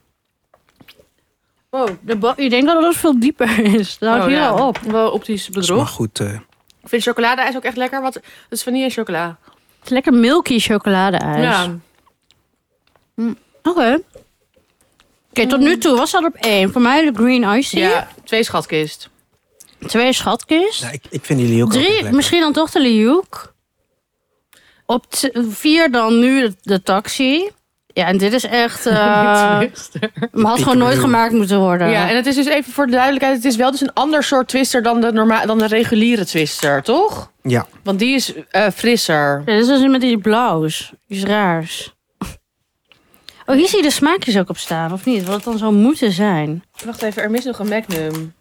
B: Wow.
A: de ba- Oh, je denkt dat het veel dieper is. Dat houdt
B: Oh,
A: hier
B: ja.
A: al op.
B: Wel optisch
C: Dat is maar
B: bedrog.
C: goed. eh,
B: Ik vind chocoladeijs ook echt lekker. Wat, het is vanille en chocola.
A: Het is lekker milky chocoladeijs.
B: Ja.
A: Oké. Oké, tot nu toe was dat op één. Voor mij de green icy.
B: ja, twee schatkist.
A: Twee schatkist.
C: nou, ik, ik vind die liuk ook echt
A: Drie,
C: lekker.
A: misschien dan toch de Liuk. Op t- vier dan nu de, de taxi. Ja, en dit is echt... eh, hem had gewoon nooit
C: Piekerbeel.
A: gemaakt moeten worden.
B: ja, en het is dus even voor de duidelijkheid. Het is wel dus een ander soort twister dan de, norma dan de reguliere twister, toch?
C: Ja,
B: Want die is eh, frisser.
A: Ja, dit is dus met die blauws. Iets raars. Oh, hier zie je de smaakjes ook op staan, of niet? Wat het dan zou moeten zijn.
B: Wacht even, er mist nog een magnum.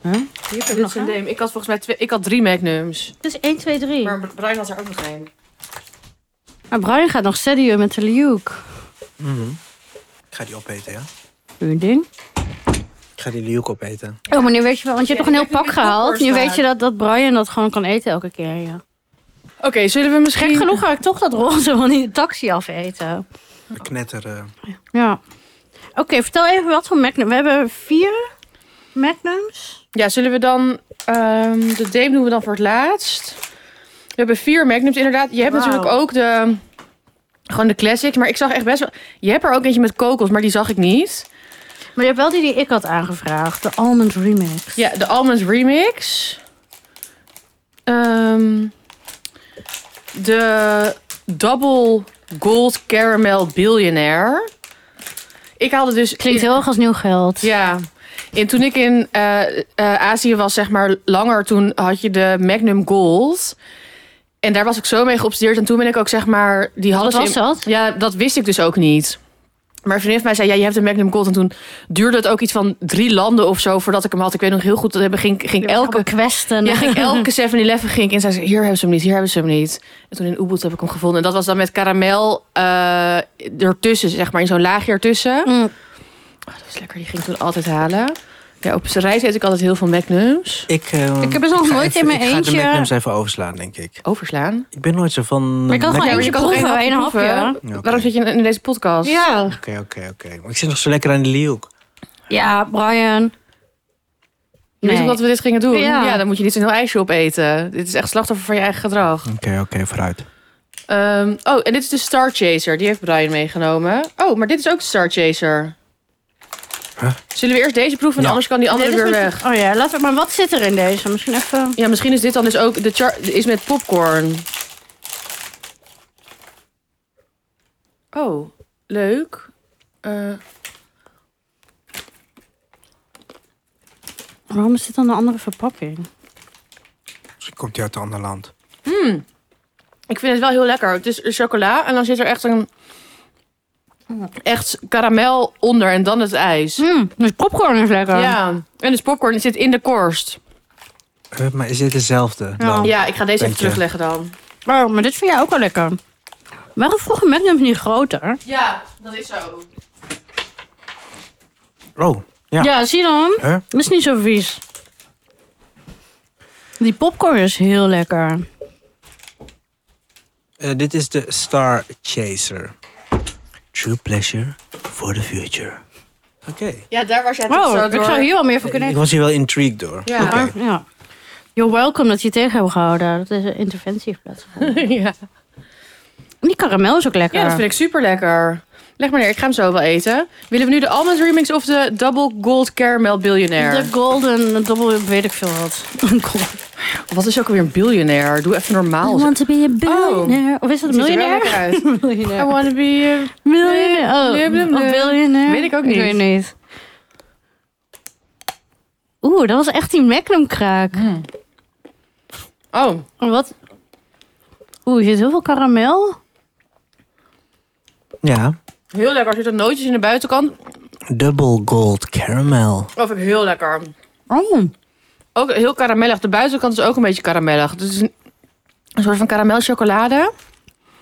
A: Huh?
B: Hier heb
A: nog
B: ik dit
A: een?
B: systeem. Ik had volgens mij twee, ik had drie magnums.
A: Het is 1, 2, 3. Maar,
B: Maar Brian had er ook nog één.
A: Brian gaat nog steadier met de Liuk.
C: Mhm. ik ga die opeten, ja.
A: Uw ding.
C: Ik ga die liuk opeten.
A: Oh, maar nu weet je wel, want je hebt
B: Ja,
A: nog een
B: ik
A: heel pak
B: heb nu die
A: gehaald. Nu
B: toppers
A: weet je dat, dat Brian dat gewoon kan eten elke keer, ja.
B: Oké, zullen we misschien...
A: Gek genoeg ga ik toch dat roze van die taxi afeten.
C: De knetter. eh,
A: Ja. Oké, vertel even wat voor Magnum. We hebben vier magnums?
B: Ja, zullen we dan... ehm, de Dame doen we dan voor het laatst. We hebben vier Magnums inderdaad. Je hebt
A: Wauw.
B: natuurlijk ook de... Gewoon de classics. Maar ik zag echt best wel... Je hebt er ook eentje met kokos, maar die zag ik niet.
A: Maar je hebt wel die die ik had aangevraagd. De Almond Remix.
B: Ja, de Almonds Remix. Ehm, de Double Gold Caramel Billionaire. Ik haalde dus...
A: Klinkt heel erg als nieuw geld.
B: Ja. En toen ik in eh, eh, Azië was, zeg maar langer, toen had je de Magnum Gold. En daar was ik zo mee geobsedeerd. En toen ben ik ook, zeg maar, die hadden
A: Wat
B: ze
A: was
B: in-
A: dat?
B: Ja, dat wist ik dus ook niet. Maar een vriendin van mij zei, ja, je hebt de Magnum Gold. En toen duurde het ook iets van drie landen of zo voordat ik hem had. Ik weet nog heel goed, dat hebben- ging, ging elke...
A: Allemaal kwesten.
B: Ja, ging elke 7-Eleven ging ik in. Zei ze, hier hebben ze hem niet, hier hebben ze hem niet. En toen in Ubud heb ik hem gevonden. En dat was dan met karamel eh, ertussen, zeg maar. In zo'n laagje ertussen.
A: Mm.
B: Oh, dat is lekker, die ging ik toen altijd halen. Ja, op zijn reis eet ik altijd heel veel Magnums.
C: Ik, eh,
A: Ik heb er nog
C: ga
A: nooit
C: even-
A: in mijn
C: Ik ga
A: eentje-
C: de Magnums even overslaan, denk ik.
B: Overslaan.
C: Ik ben nooit zo van... eh,
A: Maar ik kan gewoon
C: Magnum.
A: eentje
B: maar je kan toch
A: proeven,
B: één
A: één
B: hapje
A: hapje.
C: Ja, oké.
B: Waarom zit je in in deze podcast?
A: Ja.
C: Oké, oké, oké. Maar Ik zit nog zo lekker aan de leeuw.
A: Ja, Brian.
B: Je wist ook dat we dit gingen doen.
A: Ja.
B: dan moet je niet zo'n heel ijsje opeten. Dit is echt slachtoffer van je eigen gedrag.
C: Oké, oké, vooruit.
B: Ehm, oh, en dit is de Star Chaser. Die heeft Brian meegenomen. Oh, maar dit is ook de Star Chaser.
C: Huh?
B: Zullen we eerst deze proeven?
C: Ja.
B: Anders kan die andere
A: Dit is
B: weer
A: met-
B: weg.
A: Oh ja, laten we, maar wat zit er in deze? Misschien even...
B: Ja, misschien is dit dan dus ook... De char is met popcorn. Oh, leuk. Eh,
A: Waarom is dit dan een andere verpakking?
C: Misschien komt hij uit een ander land.
B: ik vind het wel heel lekker. Het is chocola en dan zit er echt een... Echt karamel onder en dan het ijs.
A: Mm, dus popcorn is lekker.
B: Ja, en dus popcorn zit in de korst.
C: Eh, maar is dit dezelfde?
A: Ja.
C: dan?
B: Ja, ik ga deze
C: Dank
B: even
C: je.
B: terugleggen dan.
A: Oh, maar dit vind jij ook wel lekker. Waarom vroegen Magnums niet groter?
B: Ja, dat is zo.
C: Oh, ja.
A: Ja, zie dan.
C: Huh?
A: Dat is niet zo vies. Die popcorn is heel lekker.
C: Eh, dit is de Star Chaser. True pleasure for the future. Oké.
B: Ja, daar was jij toch
A: Wow,
B: zo
A: ik
B: door.
A: zou hier wel meer van kunnen
C: Ik was hier wel intrigued door.
B: Ja.
C: Oké.
A: Maar, ja. You're welcome dat je het tegen hebben gehouden. Dat is een interventie heeft plaatsgevonden.
B: ja.
A: En Die karamel is ook lekker.
B: ja, dat vind ik super lekker. Leg maar neer, ik ga hem zo wel eten. Willen we nu de Almond Remix of de Double Gold Caramel Billionaire?
A: De golden double, weet ik veel wat.
B: Wat is ook alweer een billionaire? Doe even normaal.
A: I want to be a billionaire. Oh. Of is dat een
B: Ziet er wel
A: miljonair?
B: lekker uit. I
A: Miljonair.
B: wanna be a-
A: Miljonair. Oh,
B: Blub, blub,
A: of
B: blub.
A: biljonair.
B: Weet ik ook niet.
A: Ik weet niet. Oeh, dat was echt die Magnum kraak.
B: Oh,
A: Oh, Wat? Oeh, er zit heel veel karamel.
C: ja.
B: heel lekker. Er zitten nootjes in de buitenkant.
C: Double gold caramel.
B: Oh, vind ik heel lekker.
A: Oh.
B: Ook heel karamellig. De buitenkant is ook een beetje karamellig. Dus Het is een, een soort van karamelchocolade.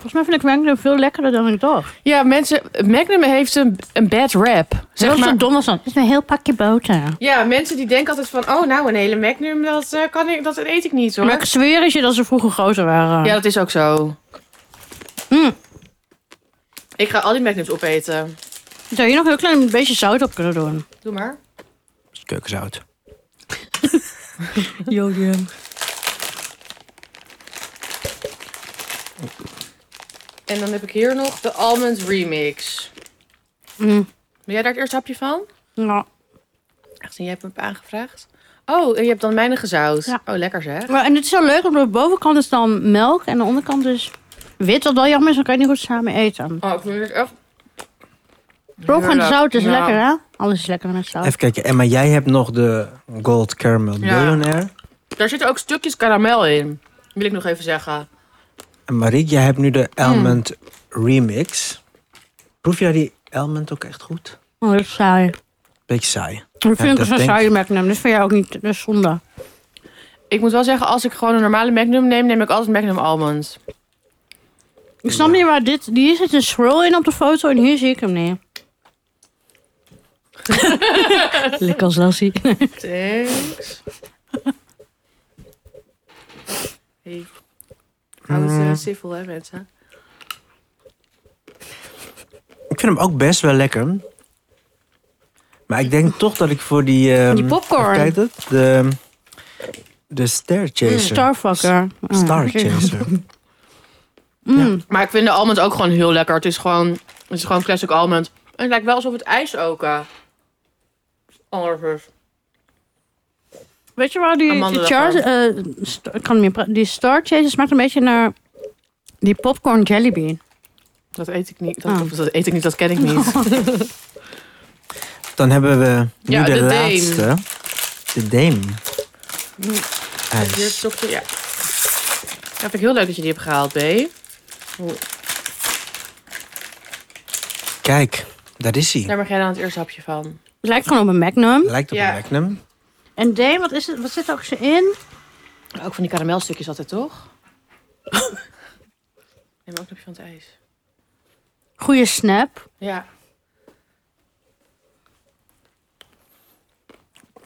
A: Volgens mij vind ik Magnum veel lekkerder dan ik dacht.
B: Ja, mensen, Magnum heeft een, een bad rap. Zeg
A: Zeg
B: maar.
A: zo dom als dat. Het is een heel pakje boter.
B: Ja, mensen die denken altijd van, oh nou, een hele Magnum, dat, eh, kan ik, dat eet ik niet hoor.
A: Maar ik zweer het je dat ze vroeger groter waren.
B: Ja, dat is ook zo.
A: Mm.
B: Hmm. Ik ga al die Magnums opeten.
A: Zou je nog een heel klein beetje zout op kunnen doen?
B: Doe maar.
C: Keukenzout.
A: Jodium.
B: En dan heb ik hier nog de Almond Remix.
A: Mm.
B: Wil jij daar het eerste hapje van?
A: Ja.
B: Echt, en jij hebt me aangevraagd? Oh, en je hebt dan mijne gezout.
A: Ja.
B: Oh, lekker zeg.
A: Maar, en het is wel leuk, omdat de bovenkant is dan melk en de onderkant is wit. Wat wel jammer is, dan kan je niet goed samen eten.
B: Oh, ik vind het echt... Nou,
A: Ook en
B: Heerlijk.
A: zout is
B: Ja.
A: lekker, hè? Alles is lekker met zout.
C: Ah. Even kijken. Emma, jij hebt nog de gold caramel
B: Ja.
C: billionaire.
B: Daar zitten ook stukjes karamel in. Wil ik nog even zeggen.
C: En Mariek, jij hebt nu de
B: Hmm.
C: almond remix. Proef jij die almond ook echt goed?
A: Oh, dat is saai.
C: Beetje saai.
A: Dat vind
C: dat
A: ik een
C: denk
A: saaie
C: ik.
A: Magnum. Dat vind jij ook niet. Dat is zonde.
B: Ik moet wel zeggen, als ik gewoon een normale Magnum neem, neem ik altijd Magnum Almond.
A: Ik snap niet waar dit... Hier zit een swirl in op de foto en hier zie ik hem niet. Lekker als Lassie.
C: Ehm,
B: Thanks. Hey. Hou het eh, civil, hè, mensen?
C: Ik vind hem ook best wel lekker. Maar ik denk toch dat ik voor die... ehm,
B: Die popcorn. Hmm,
C: hoe heet het? De, de Star Chaser.
A: Mm, Starfucker. Oh,
C: Star
A: oké.
C: Chaser.
A: Mm.
B: Maar ik vind de almond ook gewoon heel lekker. Het is gewoon, het is gewoon classic almond. En het lijkt wel alsof het ijs ook eh, anders is.
A: Weet je waar die, die
B: Amandelen
A: Charles, eh, st- ik kan niet meer praten. die Star Chaser smaakt een beetje naar die popcorn jellybean.
B: Dat eet ik niet.
A: Ah.
B: Dat, dat eet ik niet, dat ken ik niet.
C: Dan hebben we nu
B: Ja,
C: de,
B: de Dame.
C: laatste. De Dame.
B: Dit Hmm. is
C: IJs.
B: toch de- Ja. Ja, vind ik heel leuk dat je die hebt gehaald, B.
C: Kijk, daar is hij.
B: Daar mag jij dan het eerste hapje van.
A: Het lijkt gewoon op een Magnum.
C: Lijkt op
B: Ja.
C: een Magnum.
A: En Dame, wat, is het, wat zit er ook zo in?
B: Ook van die karamelstukjes altijd, toch? Neem ook een hapje van het ijs.
A: Goeie snap.
B: Ja.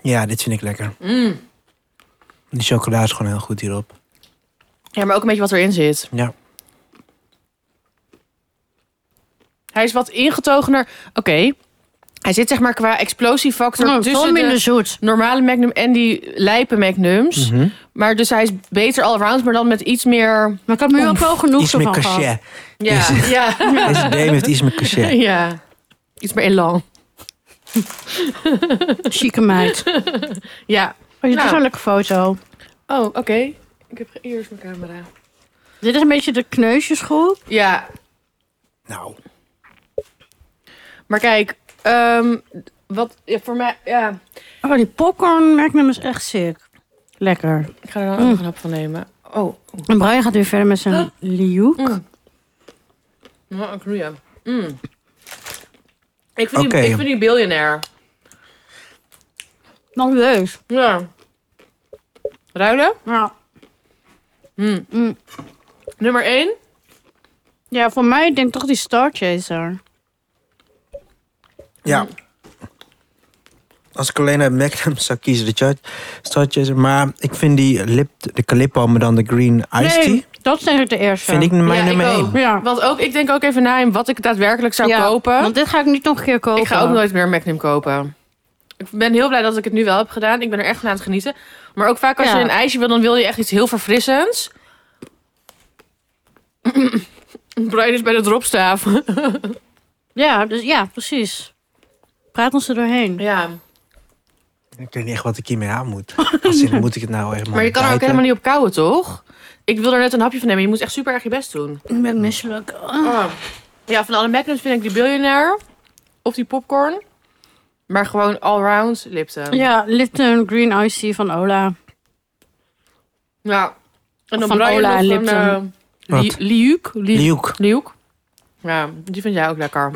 C: Ja, dit vind ik lekker.
B: Mm.
C: Die chocola is gewoon heel goed hierop.
B: Ja, maar ook een beetje wat erin zit.
C: Ja.
B: Hij is wat ingetogener. Oké. Hij zit zeg maar qua explosiefactor
A: Mm, veel
B: Oh, tussen de
A: minder zoet.
B: normale Magnum en die lijpe Magnums.
C: Mhm.
B: Maar dus hij is beter allround, maar dan met iets meer...
A: Maar ik had me nu ook
C: Oemf.
A: wel genoeg
C: Iets meer
A: van gehad.
C: cachet.
B: Ja,
C: Yes.
B: ja.
C: Deze Dame heeft iets meer cachet.
B: ja. Iets meer elan.
A: Chique meid. Oh,
B: Ja.
A: dit is
B: Nou.
A: wel een leuke foto.
B: Oh, oké. Ik heb... Hier is mijn camera.
A: Dit is een beetje de kneusjesgroep.
B: Ja,
C: Nou,
B: maar kijk. ehm, wat ja, voor mij... Ja.
A: Oh, die popcorn Magnum is echt sick. Lekker.
B: Ik ga er dan ook
A: Mm.
B: nog een hap van nemen. Oh.
A: En Brian gaat weer verder met zijn
B: Huh?
A: liuk.
B: Mm. Ja, ik roei hem. Mm. Ik vind,
C: Oké.
B: die, ik vind die biljonair.
A: Nog leuk.
B: Ja. Ruilen?
A: Ja.
B: Mm.
A: Mm.
B: Nummer 1.
A: ja, voor mij denk ik toch die Star Chaser.
C: ja. Als ik alleen uit Magnum zou kiezen, de char- Star Chaser. Maar ik vind die lip, de Calippo, maar dan de Green Iced Tea,
A: Nee, dat is eigenlijk de eerste.
C: vind ik mijn
B: Ja, ik
C: nummer
B: ook.
C: 1.
A: Ja.
B: Want ook, ik denk ook even na in wat ik daadwerkelijk zou
A: Ja,
B: kopen.
A: Want dit ga ik niet nog een keer kopen.
B: Ik ga ook nooit meer Magnum kopen. Ik ben heel blij dat ik het nu wel heb gedaan. Ik ben er echt van aan het genieten. Maar ook vaak als
A: Ja.
B: je een ijsje wil, dan wil je echt iets heel verfrissends. Brian is bij de dropstaaf.
A: Ja, dus, ja, precies. Praat ons er doorheen.
B: ja,
C: Ik weet niet echt wat ik hiermee aan moet. Als in, moet ik het nou helemaal
B: maar je kan er ook helemaal niet op kouwen, toch? Ik wil er net een hapje van nemen. Je moet echt super erg je best Oh. doen.
A: Ik ben misselijk. Ah.
B: Ja, van alle Magnums vind ik die biljonair. Of die popcorn. Maar gewoon allround Lipton.
A: Ja, Lipton Green Ice Tea van Ola.
B: Ja. En dan
A: Van
B: Brian
A: Ola
B: nog
A: en
B: van,
A: Lipton.
B: eh, Li-
C: Wat?
B: Liuk. Liuk.
C: Liuk.
B: Liuk. Ja, die vind jij ook lekker.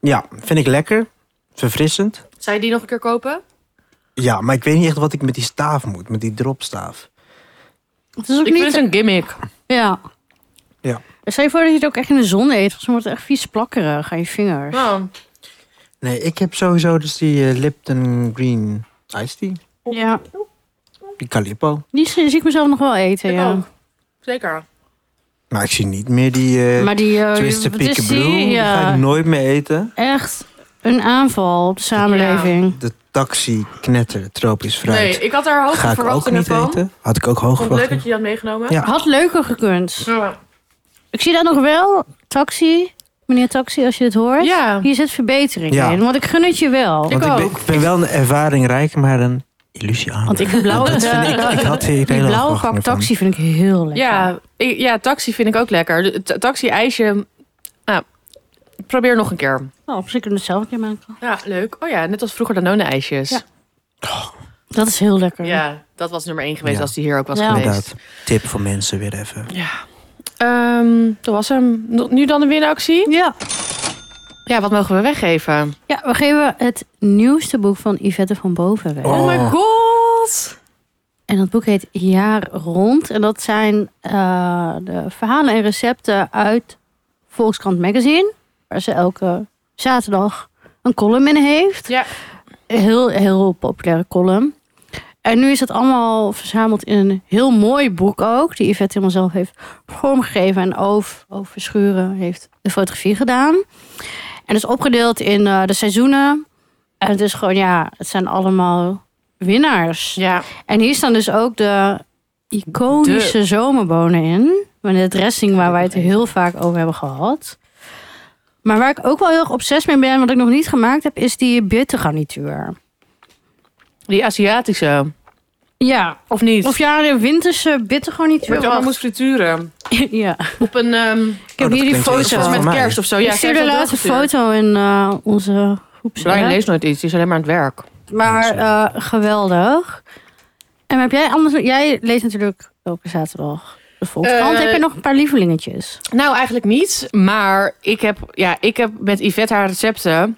C: Ja, vind ik lekker. Verfrissend.
B: Zou je die nog een keer kopen?
C: Ja, maar ik weet niet echt wat ik met die staaf moet. Met die dropstaaf.
A: Het is ook
B: Ik
A: niet...
B: vind het een gimmick.
A: Ja.
C: Ja.
A: Stel je voor dat je het ook echt in de zon eet. Volgens mij wordt het echt vies plakkerig aan je vingers.
B: Nou,
C: Nee, ik heb sowieso dus die eh, Lipton Green Iced Tea.
A: Ja.
C: Die Calippo.
A: Die zie zie ik mezelf nog wel eten,
B: ik
A: ja.
B: ook. Zeker.
C: Maar ik zie niet meer die eh
A: Maar die... eh,
C: Twisted
A: wat is die?
C: Peekaboo. Die ga
A: Ja.
C: ik nooit meer eten.
A: Echt een aanval op de samenleving.
C: De taxi knetter tropisch fruit.
B: Nee, ik had daar hoge
C: ga ik ook
B: verwachtingen
C: niet
B: van.
C: eten. Had ik ook hoog
B: Vond het leuk dat
C: verwachtingen.
B: je die had meegenomen.
C: Ja.
A: Had leuker gekund.
B: Ja.
A: Ik zie daar nog wel taxi. Meneer taxi, als je dit hoort.
B: Ja.
A: Hier zit verbetering
C: Ja.
A: in. Want ik gun het je wel.
B: Ik
C: Want ik ben,
B: ook.
C: ik ben wel een ervaring rijk, maar een illusie aan.
A: Want ik die blauwe,
C: Dat vind ik, ik had hier
A: die blauwe
C: hele verwachtingen
A: pak
C: van.
A: taxi vind ik heel lekker.
B: Ja, ik- ja, taxi vind ik ook lekker. De- ta- Taxi-ijsje. Nou, probeer nog een keer.
A: Oh, misschien kunnen we het zelf een keer maken.
B: Ja, leuk. Oh ja, net als vroeger Danone-ijsjes.
A: Ja. Dat is heel lekker.
B: Ja, dat was nummer één geweest
C: Ja.
B: als die hier ook was
A: Ja.
B: geweest.
C: Inderdaad. Tip voor mensen weer even.
B: Ja. Ehm, dat was hem. Nog- Nu dan de winactie.
A: Ja.
B: Ja, wat mogen we weggeven?
A: Ja, we geven het nieuwste boek van Yvette van Boven weg.
C: Oh.
B: Oh, my god!
A: En dat boek heet Jaar Rond. En dat zijn eh, de verhalen en recepten uit Volkskrant Magazine. Waar ze elke zaterdag een column in heeft.
B: Ja.
A: Een Heel, heel populaire column. En nu is dat allemaal verzameld in een heel mooi boek ook. Die Yvette helemaal zelf heeft vormgegeven. En Oof, Oof Verschuren heeft de fotografie gedaan. En dat is opgedeeld in eh, de seizoenen. En het is gewoon, ja, het zijn allemaal winnaars.
B: Ja.
A: En hier staan dus ook de iconische zomerbonen in. Met de dressing waar wij het heel vaak over hebben gehad. Maar waar ik ook wel heel erg obsessief mee ben, wat ik nog niet gemaakt heb, is die bittergarnituur.
B: Die Aziatische.
A: Ja.
B: Of niet?
A: Of ja, de winterse bittergarnituur.
B: Met allemaal
A: Wacht.
B: moest frituren.
A: Ja.
B: Op een... ehm
A: Ik heb
C: Oh, dat
A: hier die
C: klinkt heel
A: foto.
C: erg
B: volgens mij
C: voor
B: met
C: mij.
B: kerst of zo.
A: Ik
B: Oh Ja,
A: stuur
B: zij
A: de
B: heeft dat
A: laatste
B: doorgestuurd.
A: foto in eh, onze groepsapp.
B: Brian leest nooit iets. Die is alleen maar aan het werk.
A: Maar
C: Mensen.
A: eh, geweldig. En heb jij anders? Jij leest natuurlijk elke zaterdag de Volkskrant.
B: Eh,
A: heb je nog een paar lievelingetjes?
B: Nou, eigenlijk niet. Maar ik heb, ja, ik heb met Yvette haar recepten.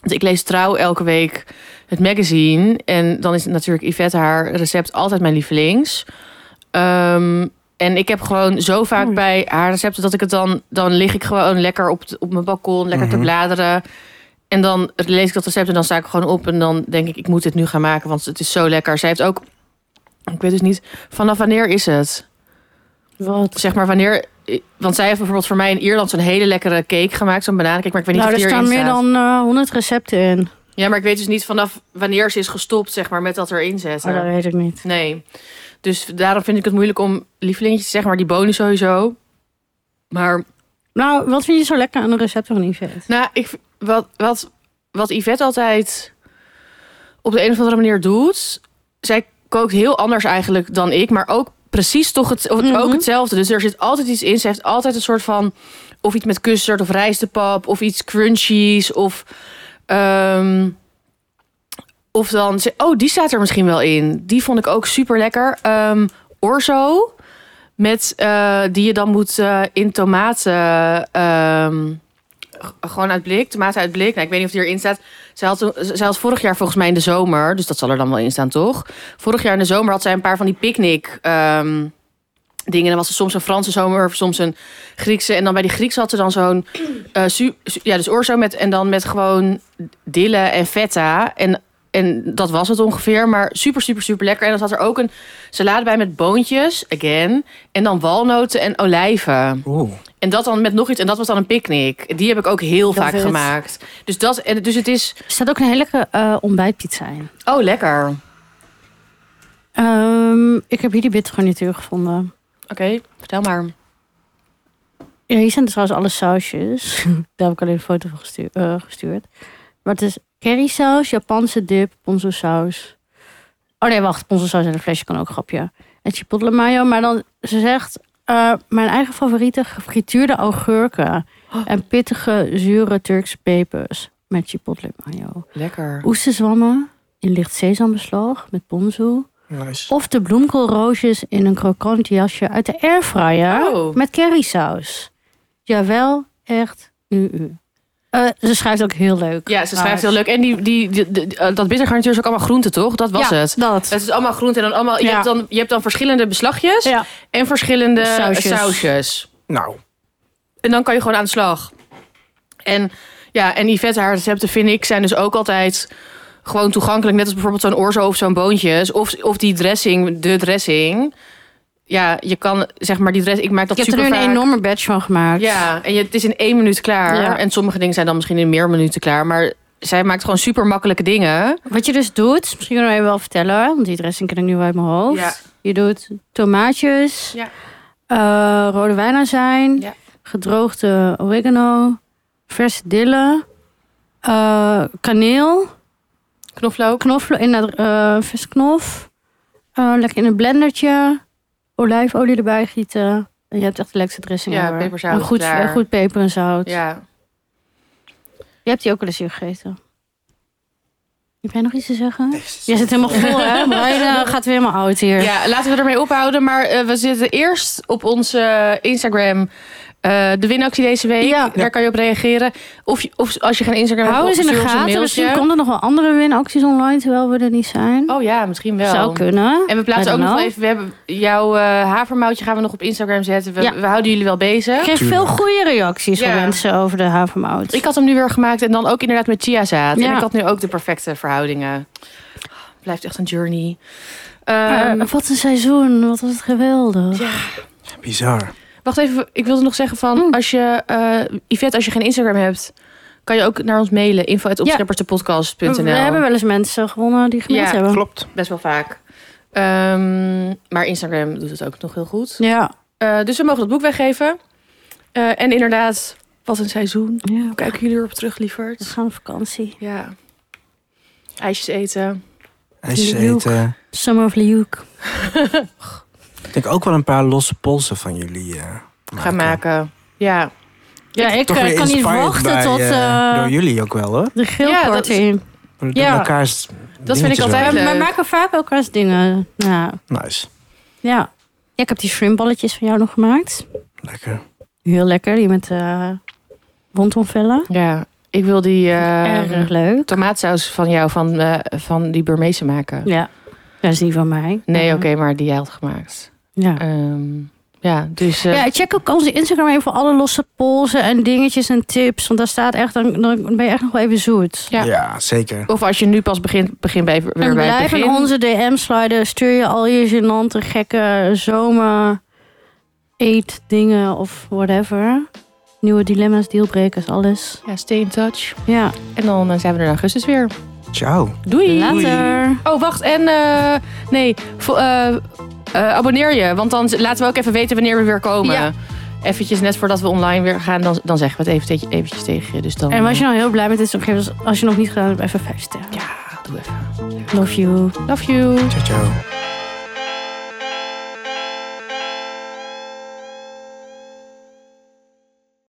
B: Want ik lees trouw elke week het magazine. En dan is natuurlijk Yvette haar recept altijd mijn lievelings. Ehm, en ik heb gewoon zo vaak
A: Mooi.
B: bij haar recepten dat ik het dan... Dan lig ik gewoon lekker op, de- op mijn balkon, lekker
C: Mhm.
B: te bladeren. En dan lees ik dat recept en dan sta ik gewoon op. En dan denk ik, ik moet dit nu gaan maken, want het is zo lekker. Zij heeft ook... Ik weet dus niet, vanaf wanneer is het?
A: Wat?
B: zeg maar wanneer. Want zij heeft bijvoorbeeld voor mij in Ierland zo'n hele lekkere cake gemaakt, zo'n bananencake. Maar ik weet niet
A: Nou, er
B: of die
A: staan
B: erin
A: meer
B: staat.
A: dan eh, 100 recepten in.
B: Ja, maar ik weet dus niet vanaf wanneer ze is gestopt, zeg maar, met dat erin zetten.
A: Maar dat weet ik niet.
B: Nee. Dus daarom vind ik het moeilijk om lievelingetjes te zeggen, maar die bonen sowieso. Maar
A: Nou, wat vind je zo lekker aan de recepten van Yvette?
B: nou, ik, v- wat, wat, wat Yvette altijd op de een of andere manier doet. Zij kookt heel anders eigenlijk dan ik, maar ook precies toch het, of-
A: Mhm.
B: ook hetzelfde. Dus er zit altijd iets in. Ze heeft altijd een soort van of iets met custard of rijstepap of iets crunchies of ehm, of dan ze- oh die staat er misschien wel in. Die vond ik ook super lekker. Ehm, orzo met eh, die je dan moet eh, in tomaten ehm, g- gewoon uit blik, tomaten uit blik. Nou, ik weet niet of die erin staat. Ze had, toen- ze had vorig jaar volgens mij in de zomer, dus dat zal er dan wel in staan, toch? Vorig jaar in de zomer had zij een paar van die picknick ehm, dingen. Dan was er soms een Franse zomer of soms een Griekse. En dan bij die Griekse had ze dan zo'n eh, su- su- ja, dus orzo met en dan met gewoon dille en feta en en dat was het ongeveer, maar super, super, super lekker. En dan zat er ook een salade bij met boontjes, again. En dan walnoten en olijven.
C: Oeh.
B: En dat dan met nog iets. En dat was dan een picknick. Die heb ik ook heel
A: Love
B: vaak
A: it.
B: gemaakt. Dus, dat, en, dus het is...
A: Er staat ook een hele lekkere eh, ontbijtpizza in.
B: Oh, lekker. Oké,
A: Ehm, ik heb hier die bittergarnituur gevonden.
B: vertel maar.
A: Ja, hier zijn trouwens alle sausjes. Daar heb ik alleen een foto van gestu- eh, gestuurd. Maar het is currysaus, Japanse dip, ponzo saus. Oh nee, wacht. Ponzo saus in een flesje kan ook, grapje. En chipotle mayo. Maar dan, ze zegt... eh, mijn eigen favoriete gefrituurde augurken. En pittige, zure Turkse pepers. Met chipotle mayo.
B: Lekker.
A: Oesterzwammen in licht sesambeslag met ponzo.
C: Nice.
A: Of de bloemkoolroosjes in een krokant jasje uit de airfryer
B: Oh.
A: met currysaus. Jawel, echt, nu u. Eh, ze schrijft ook heel leuk.
B: Ja, ze schrijft
A: Maar-
B: heel leuk. En die, die, die- die- eh, dat bittergarnituur is ook allemaal groente, toch? Eh, Dat was
A: Ja,
B: het.
A: dat.
B: Het is allemaal groente en dan allemaal... Je,
A: Ja.
B: hebt dan, je hebt dan verschillende beslagjes
A: Ja.
B: en verschillende eh,
A: Sausjes.
B: sausjes.
C: Nou,
B: En dan kan je gewoon aan de slag. En ja, en Yvette, haar recepten vind ik, zijn dus ook altijd gewoon toegankelijk. Net als bijvoorbeeld zo'n orzo of zo'n boontjes. Of, of die dressing, de dressing. Ja, je kan zeg maar die dressing. Ik maak dat
A: Ik heb er
B: super
A: nu een
B: vaak.
A: enorme batch van gemaakt.
B: Ja, en je, het is in één minuut klaar.
A: Ja.
B: En sommige dingen zijn dan misschien in meer minuten klaar. Maar zij maakt gewoon super makkelijke dingen.
A: Wat je dus doet, misschien kunnen wij wel vertellen, want die dressing ken ik nu uit mijn hoofd.
B: Ja.
A: Je doet tomaatjes,
B: Ja.
A: eh, rode wijnazijn,
B: Ja.
A: gedroogde oregano, verse dille, eh, kaneel.
B: Knoflook.
A: knoflook, inderdaad, eh vers knof. Eh, lekker in een blendertje. Olijfolie erbij gieten. En je hebt echt de lekkerste dressing
B: Ja,
A: ever.
B: peperzout,
A: En goed,
B: klaar.
A: en goed peper en zout.
B: Ja.
A: Je hebt die ook wel eens hier gegeten. Heb jij nog iets te zeggen?
C: Jezus.
A: Jij zit helemaal vol, hè? Brian eh, gaat weer helemaal oud hier.
B: ja, laten we ermee ophouden. Maar eh, we zitten eerst op onze eh, Instagram. eh, de winactie deze week.
A: Ja.
B: Daar kan je op reageren. Of, je- of als je geen Instagram hebt,
A: Hou eens in de
B: stuur ons een
A: gaten.
B: mailtje.
A: Misschien komen er nog wel andere winacties online terwijl we er niet zijn.
B: Oh ja, misschien wel.
A: Zou kunnen.
B: En we
A: I
B: plaatsen ook
A: don't
B: nog wel
A: know.
B: even. We hebben jouw eh, havermoutje gaan we nog op Instagram zetten. We,
A: Ja.
B: we houden jullie wel bezig.
A: Ik kreeg veel
C: Tuurlijk.
A: goede reacties van
B: Ja.
A: mensen over de havermout.
B: Ik had hem nu weer gemaakt en dan ook inderdaad met chiazaad.
A: Ja.
B: En ik had nu ook de perfecte verhoudingen. Blijft echt een journey.
A: Eh,
B: Ehm,
A: wat een seizoen. Wat was het geweldig.
B: ja.
C: bizar.
B: Wacht even, ik wilde nog zeggen van...
A: Mm.
B: Als je, eh Yvette, als je geen Instagram hebt... kan je ook naar ons mailen. Info uit
A: We,
B: opscheppersdepodcast.nl.
A: we hebben wel eens mensen gewonnen die gemaild
B: Ja.
A: hebben.
C: Klopt.
B: best wel vaak. Ehm, maar Instagram doet het ook nog heel goed.
A: Ja.
B: Eh, dus we mogen dat boek weggeven. Eh, en inderdaad, wat een seizoen.
A: ja.
B: Kijken jullie erop terug,
A: We
B: lieverd.
A: gaan op vakantie.
B: Ja. IJsjes eten.
C: IJsjes
A: Jullie ook.
C: eten.
A: Summer of Liuk.
C: Ik denk ook wel een paar losse polsen van jullie eh,
B: Gaan maken. Ja.
A: Ja, ik
C: Toch
A: eh,
C: weer
A: kan niet
C: inspired
A: wachten
C: bij,
A: tot
C: eh,
A: eh,
C: door jullie ook wel hoor.
A: de
B: Ja, dat
A: geelpoort
B: is-
A: in.
C: Door
A: ja.
C: elkaars
B: Dat vind ik
C: dingetjes
B: altijd
A: We,
B: leuk.
A: we maken vaak elkaars dingen. Ja.
C: wel. Nice.
A: ja. Ja, Ik heb die shrimpballetjes van jou nog gemaakt.
C: Lekker.
A: Heel lekker, die met eh wondomvellen.
B: Ja. Ik wil die eh,
A: Erg leuk.
B: tomaatsaus van jou, van, eh, van die Burmeese maken.
A: Ja. Dat is niet van mij.
B: Nee,
A: Ja.
B: oké, maar die jij had gemaakt.
A: Ja.
B: Ehm, ja, dus... eh,
A: Ja, check ook onze Instagram even voor alle losse polsen en dingetjes en tips. Want daar staat echt, dan, dan ben je echt nog wel even zoet.
B: Ja.
C: Ja, zeker.
B: Of als je nu pas begint, begin bij, weer
A: en
B: bij het
A: blijf in
B: begin.
A: onze DM sliden. Stuur je al je genante gekke zomer eetdingen of whatever. Nieuwe dilemma's, dealbrekers, alles.
B: Ja, stay in touch.
A: Ja,
B: En dan eh, zijn we er in augustus weer.
C: Ciao.
B: Doei!
A: later.
B: Oh, wacht. En eh, nee, vo- eh, eh, abonneer je. Want dan z- laten we ook even weten wanneer we weer komen.
A: Ja.
B: Eventjes net voordat we online weer gaan, dan, dan zeggen we het even, te- eventjes tegen je. Dus dan,
A: En was je nou heel blij met dit soort gegevens? Als je nog niet gedaan hebt, even vijf sterren.
B: Ja, doe even.
A: Love you.
B: Love you.
C: Ciao, ciao.